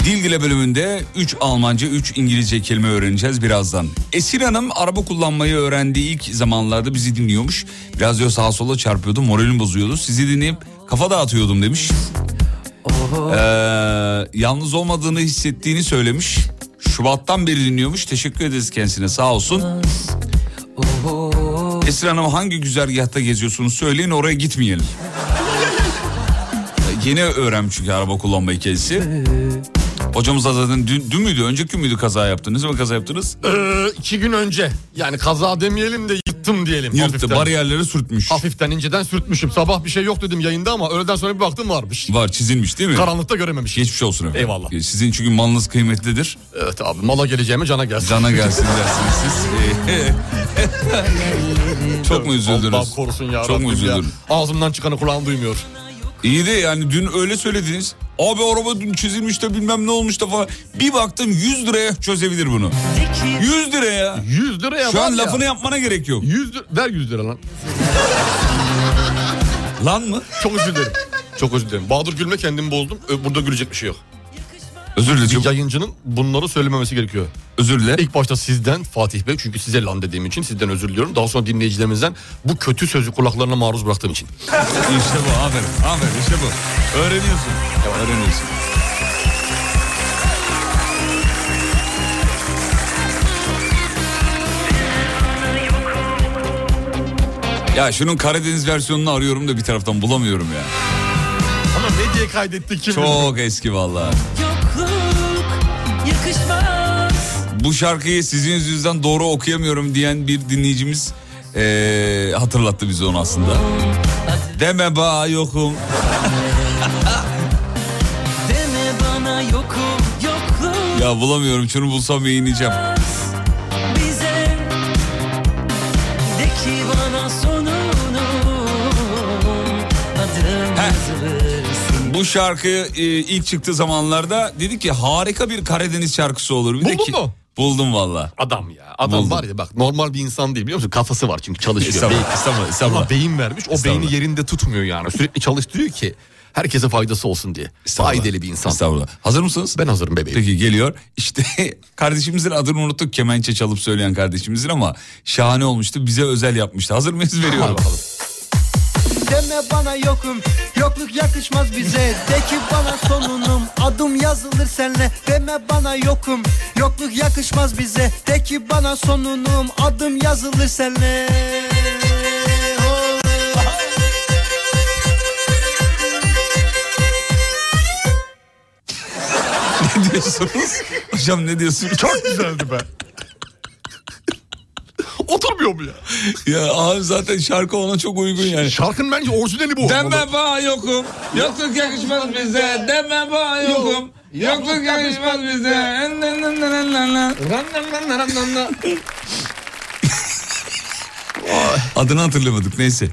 Dil Dile bölümünde 3 Almanca 3 İngilizce kelime öğreneceğiz birazdan. Esin Hanım araba kullanmayı öğrendiği ilk zamanlarda bizi dinliyormuş. Biraz diyor sağa sola çarpıyordu moralim bozuyordu. Sizi dinleyip kafa dağıtıyordum demiş. Ee, yalnız olmadığını hissettiğini söylemiş. Şubattan beri dinliyormuş. Teşekkür ederiz kendisine sağ olsun. Esra Hanım hangi güzergahta geziyorsunuz söyleyin oraya gitmeyelim. Ee, Yeni öğrenmiş çünkü araba kullanma hikayesi. Hocamız da zaten dün, dün müydü önceki gün müydü kaza yaptınız? Ne zaman kaza yaptınız?
Ee, iki gün önce yani kaza demeyelim de yıktım diyelim.
Yırttı, bariyerleri sürtmüş.
Hafiften inceden sürtmüşüm. Sabah bir şey yok dedim yayında ama öğleden sonra bir baktım varmış.
Var çizilmiş değil mi?
Karanlıkta görememiş.
Geçmiş olsun efendim. Ee,
Eyvallah.
Sizin çünkü malınız kıymetlidir.
Evet abi mala geleceğime cana gelsin.
Cana gelsin dersiniz siz. Çok mu üzüldünüz?
Allah korusun ya.
Çok mu
Rabbim ya.
üzüldün?
Ağzımdan çıkanı kulağım duymuyor.
İyi de yani dün öyle söylediniz. Abi araba dün çizilmiş de bilmem ne olmuş da falan. Bir baktım 100 liraya çözebilir bunu. 100 liraya.
100 liraya
Şu
var
an
ya.
lafını yapmana gerek yok.
100 lira, ver 100 lira lan.
Lan mı?
Çok özür dilerim. Çok özür dilerim. Bahadır gülme kendimi bozdum. Ö, Burada gülecek bir şey yok.
Özür dilerim.
Bir yayıncının bunları söylememesi gerekiyor.
Özür dilerim.
İlk başta sizden Fatih Bey çünkü size lan dediğim için sizden özür diliyorum. Daha sonra dinleyicilerimizden bu kötü sözü kulaklarına maruz bıraktığım için.
İşte bu aferin. Aferin işte bu. Öğreniyorsun. öğreniyorsun. Ya şunun Karadeniz versiyonunu arıyorum da bir taraftan bulamıyorum ya.
Ama ne diye kaydettik kim
Çok eski vallahi.
Yokluk yakışmaz
Bu şarkıyı sizin yüzünüzden doğru okuyamıyorum diyen bir dinleyicimiz eee, hatırlattı bize onu aslında. Deme ba yokum.
Deme bana yokum yokluk
Ya bulamıyorum şunu bulsam yayınlayacağım.
bize De ki bana sonunum adım yazılır
Bu şarkı e, ilk çıktığı zamanlarda dedi ki harika bir Karadeniz şarkısı olur. Bir de
Buldun
ki-
mu?
Buldum valla.
Adam ya. Adam
Buldum.
var ya bak normal bir insan değil biliyor musun? Kafası var çünkü çalışıyor.
Estağfurullah,
Beyin-
estağfurullah, estağfurullah.
Ama beyin vermiş. O
Estağfurullah.
beyni yerinde tutmuyor yani. Sürekli çalıştırıyor ki herkese faydası olsun diye. Faydalı bir insan.
Estağfurullah. Hazır mısınız?
Ben hazırım bebeğim.
Peki geliyor. İşte kardeşimizin adını unuttuk kemençe çalıp söyleyen kardeşimizin ama şahane olmuştu. Bize özel yapmıştı. Hazır mıyız? Veriyorum.
Deme bana yokum Yokluk yakışmaz bize De ki bana sonunum Adım yazılır senle Deme bana yokum Yokluk yakışmaz bize De ki bana sonunum Adım yazılır senle
ne diyorsunuz? Hocam ne diyorsunuz?
Çok güzeldi be. Oturmuyor mu ya?
ya abi zaten şarkı ona çok uygun yani.
Şarkının bence orijinali bu. olmalı.
Deme ba yokum. Yokluk yakışmaz bize. Deme ba yokum. Yokluk yakışmaz bize. La la la la la la. Adını hatırlamadık neyse.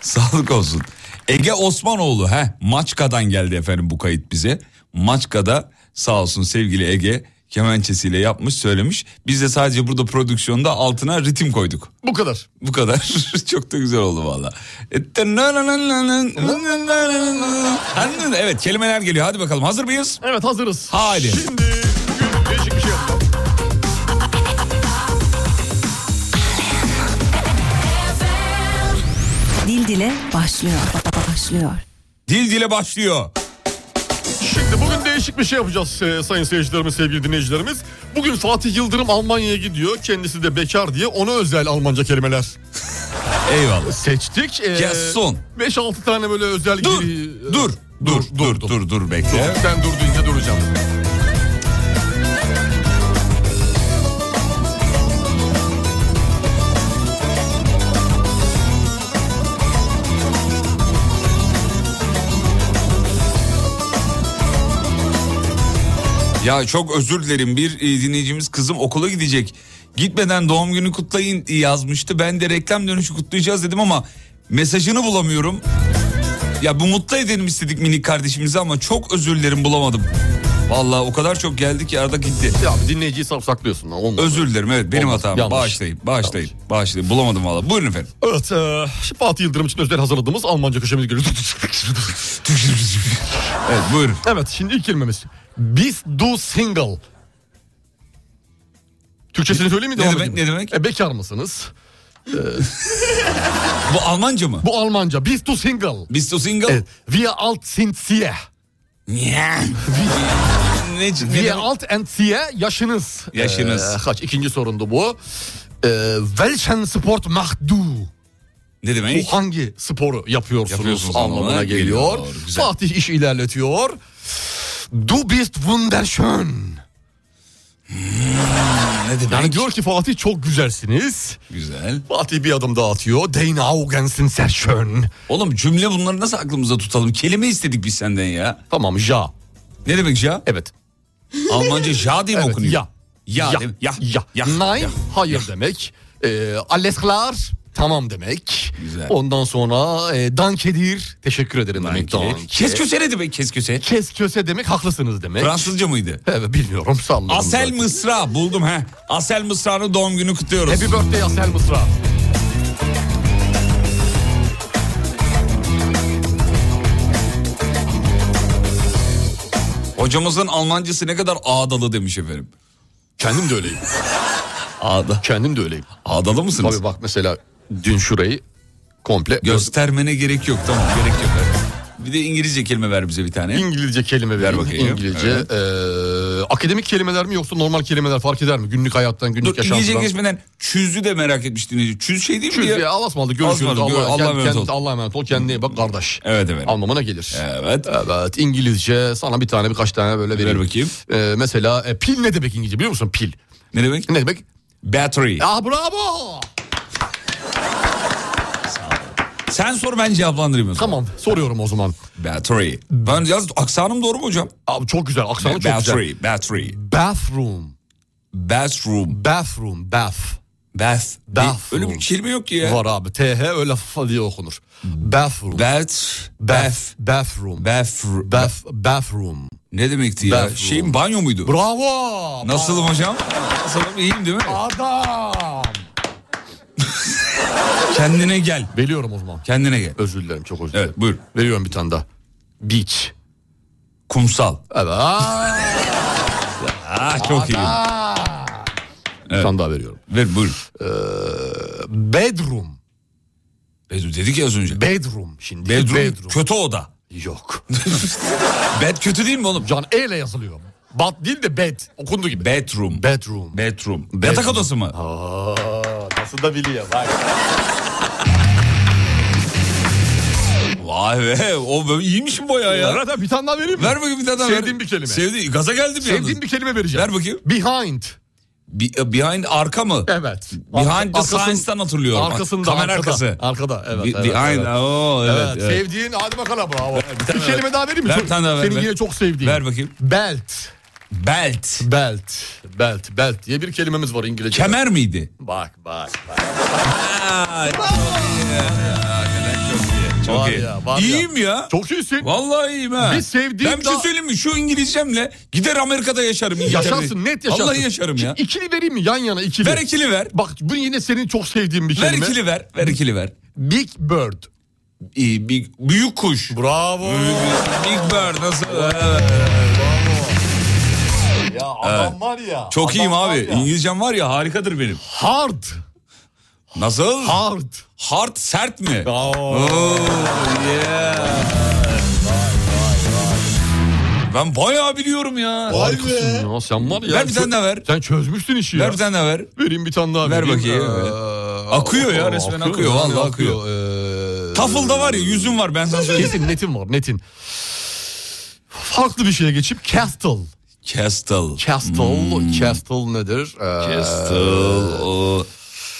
Sağlık olsun. Ege Osmanoğlu he Maçka'dan geldi efendim bu kayıt bize. Maçka'da sağ olsun sevgili Ege kemençesiyle yapmış söylemiş. Biz de sadece burada prodüksiyonda altına ritim koyduk.
Bu kadar.
Bu kadar. Çok da güzel oldu E, valla. Evet kelimeler geliyor. Hadi bakalım hazır mıyız?
Evet hazırız.
Hadi.
Değişik bir şey yapalım.
Dil dile başlıyor. Başlıyor.
Dil dile başlıyor.
Şimdi bugün değişik bir şey yapacağız e, sayın seyircilerimiz, sevgili dinleyicilerimiz. Bugün Fatih Yıldırım Almanya'ya gidiyor. Kendisi de bekar diye ona özel Almanca kelimeler.
Eyvallah.
Seçtik. E,
Gelsin.
5-6 tane böyle özel dur,
dur, dur, dur, dur, dur, bekle.
Sen dur deyince duracağım.
Ya çok özür dilerim bir e, dinleyicimiz kızım okula gidecek. Gitmeden doğum günü kutlayın yazmıştı. Ben de reklam dönüşü kutlayacağız dedim ama mesajını bulamıyorum. Ya bu mutlu edelim istedik minik kardeşimizi ama çok özür dilerim bulamadım. Vallahi o kadar çok geldi ki arada gitti.
Ya dinleyiciyi sapsaklıyorsun lan olmaz.
Özür dilerim evet benim
Olmaz,
hatam.
yanlış.
Bağışlayın, bağışlayın, bağışlayın. Bulamadım vallahi. Buyurun efendim.
Evet, e, şimdi Fatih Yıldırım için özel hazırladığımız Almanca köşemiz geliyor.
evet, buyurun.
Evet, şimdi ilk kelimemiz. Bist du single? Türkçesini söyleyeyim mi?
Ne
Devam
demek,
edeyim mi?
ne demek?
E, bekar mısınız?
bu Almanca mı?
Bu Almanca. Bist du single?
Bist du single?
Evet. Wir alt sind sie.
ne,
Wir alt and sie yaşınız.
Yaşınız.
Ee, kaç? İkinci sorundu bu. Ee, welchen Sport macht du?
Ne demek?
Bu hangi sporu yapıyorsunuz,
Yapıyorsunuz
anlamına,
anlamına
geliyor.
geliyor.
Fatih iş ilerletiyor. Du bist wunderschön.
ne demek?
Yani diyor ki Fatih çok güzelsiniz.
Güzel.
Fatih bir adım daha atıyor. Dein Augen sind sehr schön.
Oğlum cümle bunları nasıl aklımıza tutalım? Kelime istedik biz senden ya.
Tamam ja.
Ne demek ja?
Evet.
Almanca ja diye mi
Evet,
okunuyor?
ya.
Ya.
Ya.
değil mi? Ya.
Ya. Nein, hayır demek. Ee, alles klar, tamam demek.
Güzel.
Ondan sonra e, dankedir, teşekkür ederim demek. Danke.
Kesköse ne demek kesköse?
Kesköse demek haklısınız demek.
Fransızca mıydı?
Evet bilmiyorum salladım.
Asel
zaten.
Mısra buldum he. Asel Mısra'nın doğum günü kutluyoruz.
Happy birthday Asel Mısra.
Hocamızın Almancası ne kadar ağdalı demiş efendim.
Kendim de öyleyim.
Ağda.
Kendim de öyleyim.
Ağdalı mısınız?
Tabii bak mesela dün şurayı komple
Göstermene gerek yok tamam gerek yok. Bir de İngilizce kelime ver bize bir tane.
İngilizce kelime ver
bakayım.
İngilizce.
Evet.
eee, akademik kelimeler mi yoksa normal kelimeler fark eder mi? Günlük hayattan, günlük
Dur İngilizce
yaşantıdan.
geçmeden çüzü de merak etmiş dinleyici. Çüz şey değil mi
Çöz
ya?
ya Allah'a ısmarladık. Görüşürüz.
Allah'a ısmarladık.
Allah,
Allah'a
kend-
emanet ol.
kend- Allah'a emanet ol. Kendine iyi bak kardeş.
Evet evet.
Anlamına gelir.
Evet.
Evet İngilizce sana bir tane birkaç tane böyle vereyim.
Ver bakayım.
Eee, mesela e, pil ne demek İngilizce biliyor musun pil?
Ne demek?
Ne demek?
Battery.
Ah bravo.
Sen sor ben cevaplandırayım. o zaman.
Tamam soruyorum o zaman.
Battery. Ben yalnız aksanım doğru mu hocam?
Abi çok güzel aksanı çok güzel.
battery, battery.
Bathroom.
Bathroom.
Bathroom. Bath.
Bath.
Bath.
Öyle bir kelime yok ki ya.
Var abi. TH öyle f diye okunur. Bathroom.
Bath.
Bath.
Bath.
Bathroom.
Bath.
Bath. Bathroom.
Ne demekti ya?
Bathroom.
Şeyin banyo muydu?
Bravo.
Nasılım hocam? Nasılım? İyiyim değil mi?
Adam.
Kendine gel.
Veriyorum o zaman.
Kendine gel.
Özür dilerim çok özür dilerim.
Evet buyur.
Veriyorum bir tane daha. Beach.
Kumsal.
Evet.
Ah çok iyi.
Bir tane daha veriyorum.
Ver buyur.
Bedroom.
Bedroom dedik ya az önce.
Bedroom. Şimdi bedroom.
Bedroom, kötü oda.
Yok.
Bed kötü değil mi oğlum?
Can E ile yazılıyor. Bat değil de bed. Okunduğu gibi.
Bedroom.
Bedroom.
Bedroom.
Bedroom.
Yatak odası mı?
Aa, nasıl da biliyor bak.
Vay be o böyle iyiymiş mi bayağı ya?
Arada bir tane daha vereyim mi?
Ver bakayım bir tane daha.
Sevdiğim
ver.
bir kelime.
Sevdiğim. Gaza geldim yalnız.
Sevdiğim bir kelime vereceğim.
Ver bakayım.
Behind.
Be- behind arka mı?
Evet.
Behind the
Arkasın-
science'dan hatırlıyorum.
Arkasında.
Kamera
arkada.
arkası.
Arkada evet.
Be-
evet,
behind.
evet.
Oo, evet,
Evet,
evet.
sevdiğin hadi bakalım bravo. Bir,
tane
kelime
ver.
daha vereyim mi?
Ver
Çok-
bir tane daha ver,
Senin
ver.
yine çok sevdiğin.
Ver bakayım.
Belt.
Belt.
Belt. Belt. Belt diye bir kelimemiz var İngilizce.
Kemer miydi?
Bak bak bak.
Aa, çok iyi. Hakikaten çok iyi. Çok
Var
iyi.
ya, var ya.
iyiyim ya.
Çok iyisin.
Vallahi iyiyim ha.
Biz sevdiğim
Ben bir şey
daha-
söyleyeyim mi? Şu İngilizcemle gider Amerika'da yaşarım. İngiltere'de.
Yaşarsın net yaşarsın.
Vallahi yaşarım ya.
Şimdi İkili vereyim mi yan yana ikili?
Ver ikili ver.
Bak bu yine senin çok sevdiğin bir
Ver
kelime.
ikili ver. Ver ikili ver.
Big Bird.
İyi, big, büyük kuş.
Bravo.
Big Bird nasıl? Evet.
Ya adam
Evet.
var ya.
Çok
adam
iyiyim
var
abi.
ya.
İngilizcem var ya harikadır benim.
Hard.
Nasıl?
Hard.
Hard sert mi? Oo, yeah. Ben bayağı biliyorum ya.
Harikasın ya sen var ya.
Ver bir tane daha ver.
Sen çözmüştün işi ya.
Ver bir tane daha ver.
Vereyim bir tane daha.
Ver
vereyim.
bakayım.
Ee,
Akıyor ya resmen akıyor.
yani,
Vallahi akıyor. Tafılda var ya yüzün var ben sana söyleyeyim.
Ee, Kesin netin var netin. Farklı bir şeye geçip Castle.
Kestel.
Castle.
Hmm.
Castle nedir? Ee,
Kestel. O...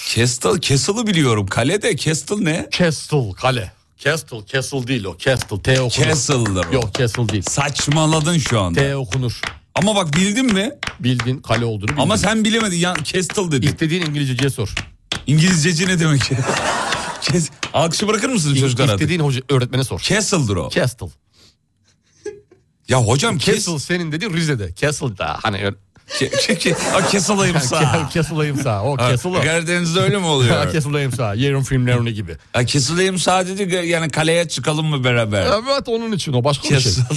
Kestel. Kestel'ı biliyorum. Kale de Kestel ne?
Castle kale. Castle, Castle değil o. Castle, T okunur.
Castle'dır o.
Yok Castle değil.
Saçmaladın şu anda.
T okunur.
Ama bak bildin mi?
Bildin kale olduğunu bildin.
Ama sen bilemedin. Ya, Kestel dedin.
İstediğin İngilizceye sor.
İngilizceci ne demek? Kes... Alkışı bırakır mısınız çocuklar artık?
İstediğin hoca, öğretmene sor.
Castle'dır o.
Castle.
Ya hocam kes...
Castle senin dedi Rize'de. Castle da hani ö-
Kesal'ayım sağ.
Castle'ayım sağ. O
Ha,
Castle o.
Karadeniz'de öyle mi oluyor?
Castle'ayım sağ. Yerin filmlerini gibi.
Ya Kesal'ayım sağ dedi yani kaleye çıkalım mı beraber?
Evet onun için o başka bir şey.
Castle.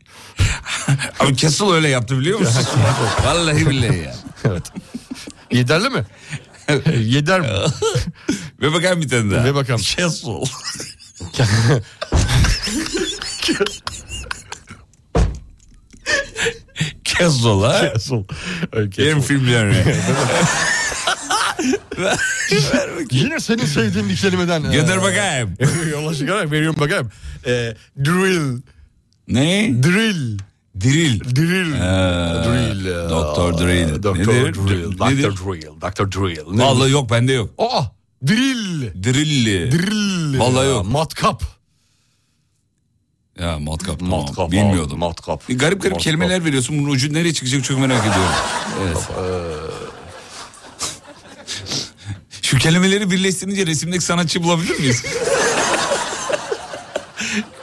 Abi Kesal öyle yaptı biliyor musun? Vallahi billahi ya.
Evet. Yeterli mi? Yeder mi?
Ve bakalım bir tane daha.
Ve bakalım.
Castle. Castle ha?
Castle. Ay, Castle.
Benim filmlerine.
Yine senin sevdiğin bir kelimeden. e,
Gönder bakayım.
Yola çıkarak veriyorum bakayım. E, drill.
Ne?
Drill.
Drill. Ee,
Drill. drill. e,
Doktor Drill.
Doktor
Nedir?
Drill.
Nedir?
Doktor Drill. Doktor Drill. Ne-
Vallahi yok bende yok.
Aa. Drill.
Drilli.
Drill.
Vallahi yok.
Matkap.
Ya matkap. tamam.
Matkap.
Bilmiyordum.
Matkap.
E, Garip garip
Matkap.
kelimeler veriyorsun. Bunun ucu nereye çıkacak çok merak ediyorum. Evet. Şu kelimeleri birleştirince resimdeki sanatçı bulabilir miyiz?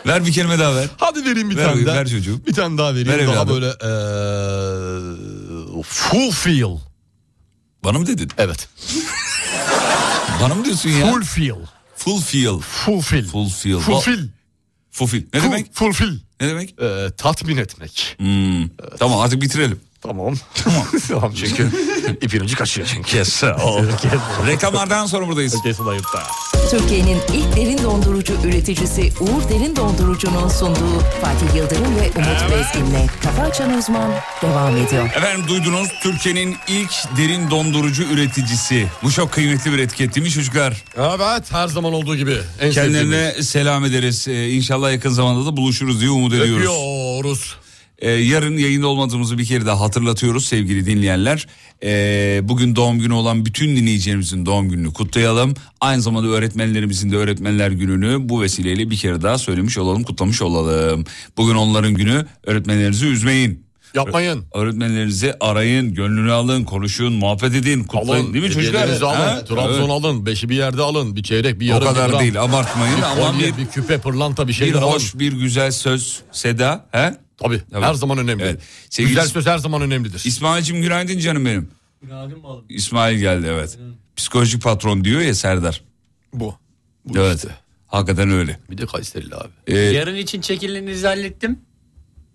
ver bir kelime daha ver.
Hadi vereyim bir
Ver
tane
bakayım,
daha.
ver çocuğum.
Bir tane daha vereyim.
Ver
daha
evladım.
böyle e, fulfill.
Bana mı dedin?
Evet.
Bana mı diyorsun ya?
Fulfill.
Fulfill.
Fulfill.
Fulfill.
Fulfill.
Fulfill. Ne
Fu-
demek?
Fulfill.
Ne demek?
E, tatmin etmek.
Hmm. Tamam artık bitirelim.
Tamam. Tamam. çünkü ipin ucu kaçıyor çünkü.
Kes. Reklamlardan sonra buradayız.
Kesin ayıpta.
Türkiye'nin ilk derin dondurucu üreticisi Uğur Derin Dondurucu'nun sunduğu Fatih Yıldırım ve Umut Bezgin'le Kafa Açan Uzman devam ediyor.
Efendim duydunuz Türkiye'nin ilk derin dondurucu üreticisi. Bu çok kıymetli bir etiket değil mi çocuklar?
Evet her zaman olduğu gibi. En
Kendilerine selam ederiz. Ee, inşallah yakın zamanda da buluşuruz diye umut
sevdiğimiz.
ediyoruz.
Öpüyoruz.
Ee, yarın yayında olmadığımızı bir kere daha hatırlatıyoruz sevgili dinleyenler. Ee, bugün doğum günü olan bütün dinleyicilerimizin doğum gününü kutlayalım. Aynı zamanda öğretmenlerimizin de öğretmenler gününü bu vesileyle bir kere daha söylemiş olalım, kutlamış olalım. Bugün onların günü öğretmenlerinizi üzmeyin.
Yapmayın.
Öğretmenlerinizi arayın, gönlünü alın, konuşun, muhabbet edin, kutlayın
Alın.
değil mi çocuklar?
hediyelerinizi alın.
Ha?
Trabzon
Evet.
alın. Beşi bir yerde alın. Bir çeyrek, bir
O
yarım. bir
kadar
gram.
değil abartmayın
Bir
ama
kolye,
bir,
bir, küpe, pırlanta bir şey.
bir
alın.
hoş, bir güzel söz, Seda. He?
Tabii,
Tabii.
her zaman önemli.
Evet. Sevgili
Güzel
İs-
söz her zaman önemlidir.
İsmail'cim günaydın canım benim.
Günaydın mı oğlum?
İsmail geldi evet. Psikolojik patron diyor ya Serdar.
Bu.
evet. Hakikaten öyle.
Bir de Kayserili abi.
Ee,
Yarın için çekilinizi hallettim.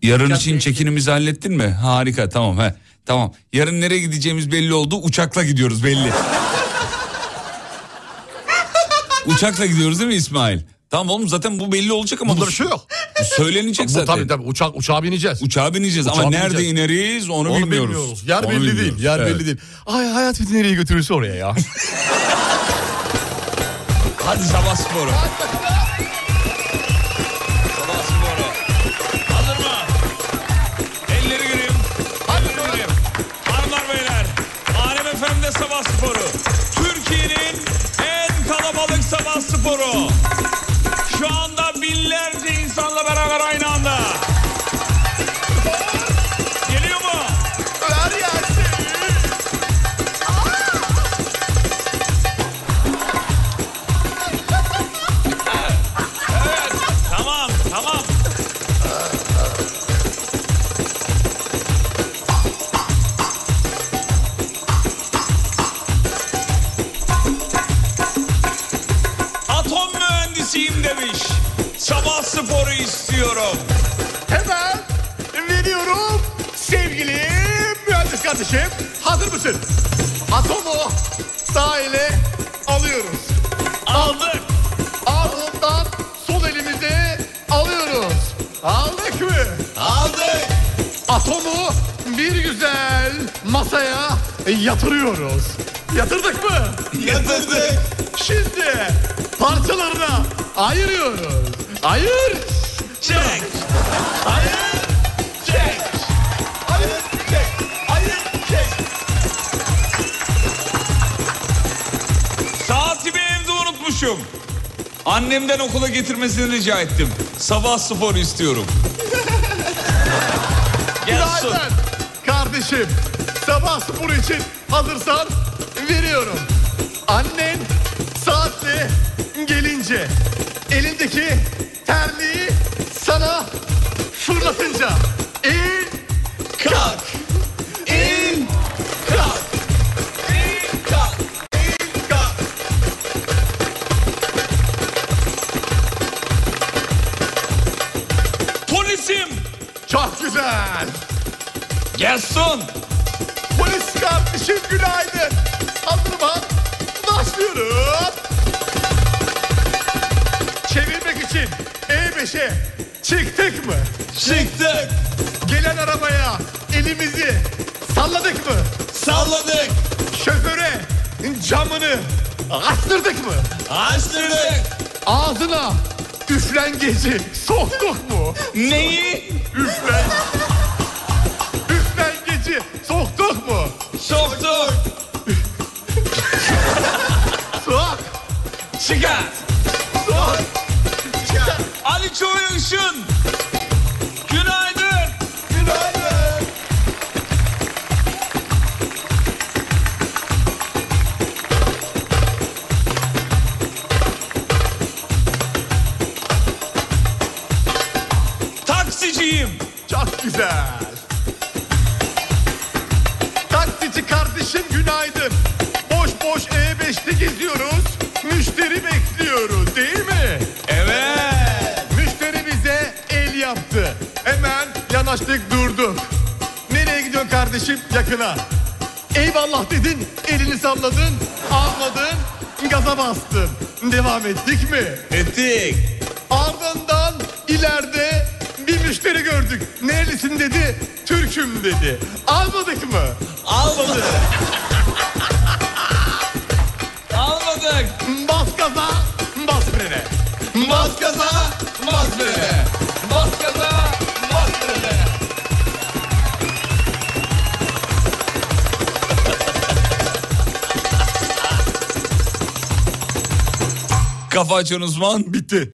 yarın
uçak
için
bileti.
çekinimizi hallettin mi? Harika tamam he. Tamam. Yarın nereye gideceğimiz belli oldu. Uçakla gidiyoruz belli. Uçakla gidiyoruz değil mi İsmail? Tamam oğlum zaten bu belli olacak ama
Bunda
bu
bir şey yok.
söylenecek
Bu
zaten.
tabii tabii uçak, uçağa bineceğiz.
Uçağa bineceğiz ama
Uçağa
nerede
bineceğiz.
ineriz onu,
Onu
bilmiyoruz.
Yer
Onu
belli
bilmiyoruz,
değil. Yer
evet.
belli değil. Ay hayat bizi nereye götürürse oraya ya.
Hadi sabah sporu. sabah sporu. Hazır mı? Elleri göreyim. Hadi göreyim. Hanımlar beyler. Alem FM'de sabah sporu. Türkiye'nin en kalabalık sabah sporu. Şu anda binlerce insanla beraber aynı anda. Geliyor mu?
kardeşim. Hazır mısın? Atomu sahile alıyoruz. Aldık. Ardından sol elimizi alıyoruz. Aldık mı? Aldık. Atomu bir güzel masaya yatırıyoruz. Yatırdık mı? Yatırdık. Şimdi parçalarına ayırıyoruz. Ayır. Çek. Ayır. Çek. Ayır. Çek. Ayır. Çek.
Saatimi evde unutmuşum. Annemden okula getirmesini rica ettim. Sabah sporu istiyorum.
Günaydın. Kardeşim sabah sporu için hazırsan veriyorum. Annen saatle gelince elindeki terliği sana fırlatınca in kalk. İn kalk. İn kalk. İn kalk.
Polisim.
Çok güzel.
Gelsin.
Polis kardeşim günaydın. Hazır bak. Başlıyoruz. Çevirmek için E5'e çıktık mı? Çıktık. Gelen arabaya elimizi salladık mı? Salladık. Şoföre camını açtırdık mı? Açtırdık. Ağzına üflengeci soktuk mu? Neyi? Üflen. Üflengeci soktuk mu? Soktuk. Sok. Çıkar. Sok. Çıkar.
Ali Çoğu Işın. Günaydın.
Günaydın.
Taksiciyim.
Çok güzel. Taksici kardeşim günaydın. Boş boş E5'te geziyoruz. Müşteri bekliyoruz değil mi? Evet. Müşteri bize el yaptı. Hemen yanaştık durduk. Nereye gidiyorsun kardeşim? Yakına. Eyvallah dedin, elini salladın, ağladın, gaza bastın. Devam ettik mi? Ettik. Ardından ileride bir müşteri gördük. Nerelisin dedi, Türk'üm dedi. Almadık mı? Almadık. Almadık. Bas gaza, bas frene. Bas gaza, bas frene. Bas gaza, bas frene.
Kafa açan uzman.
Bitti.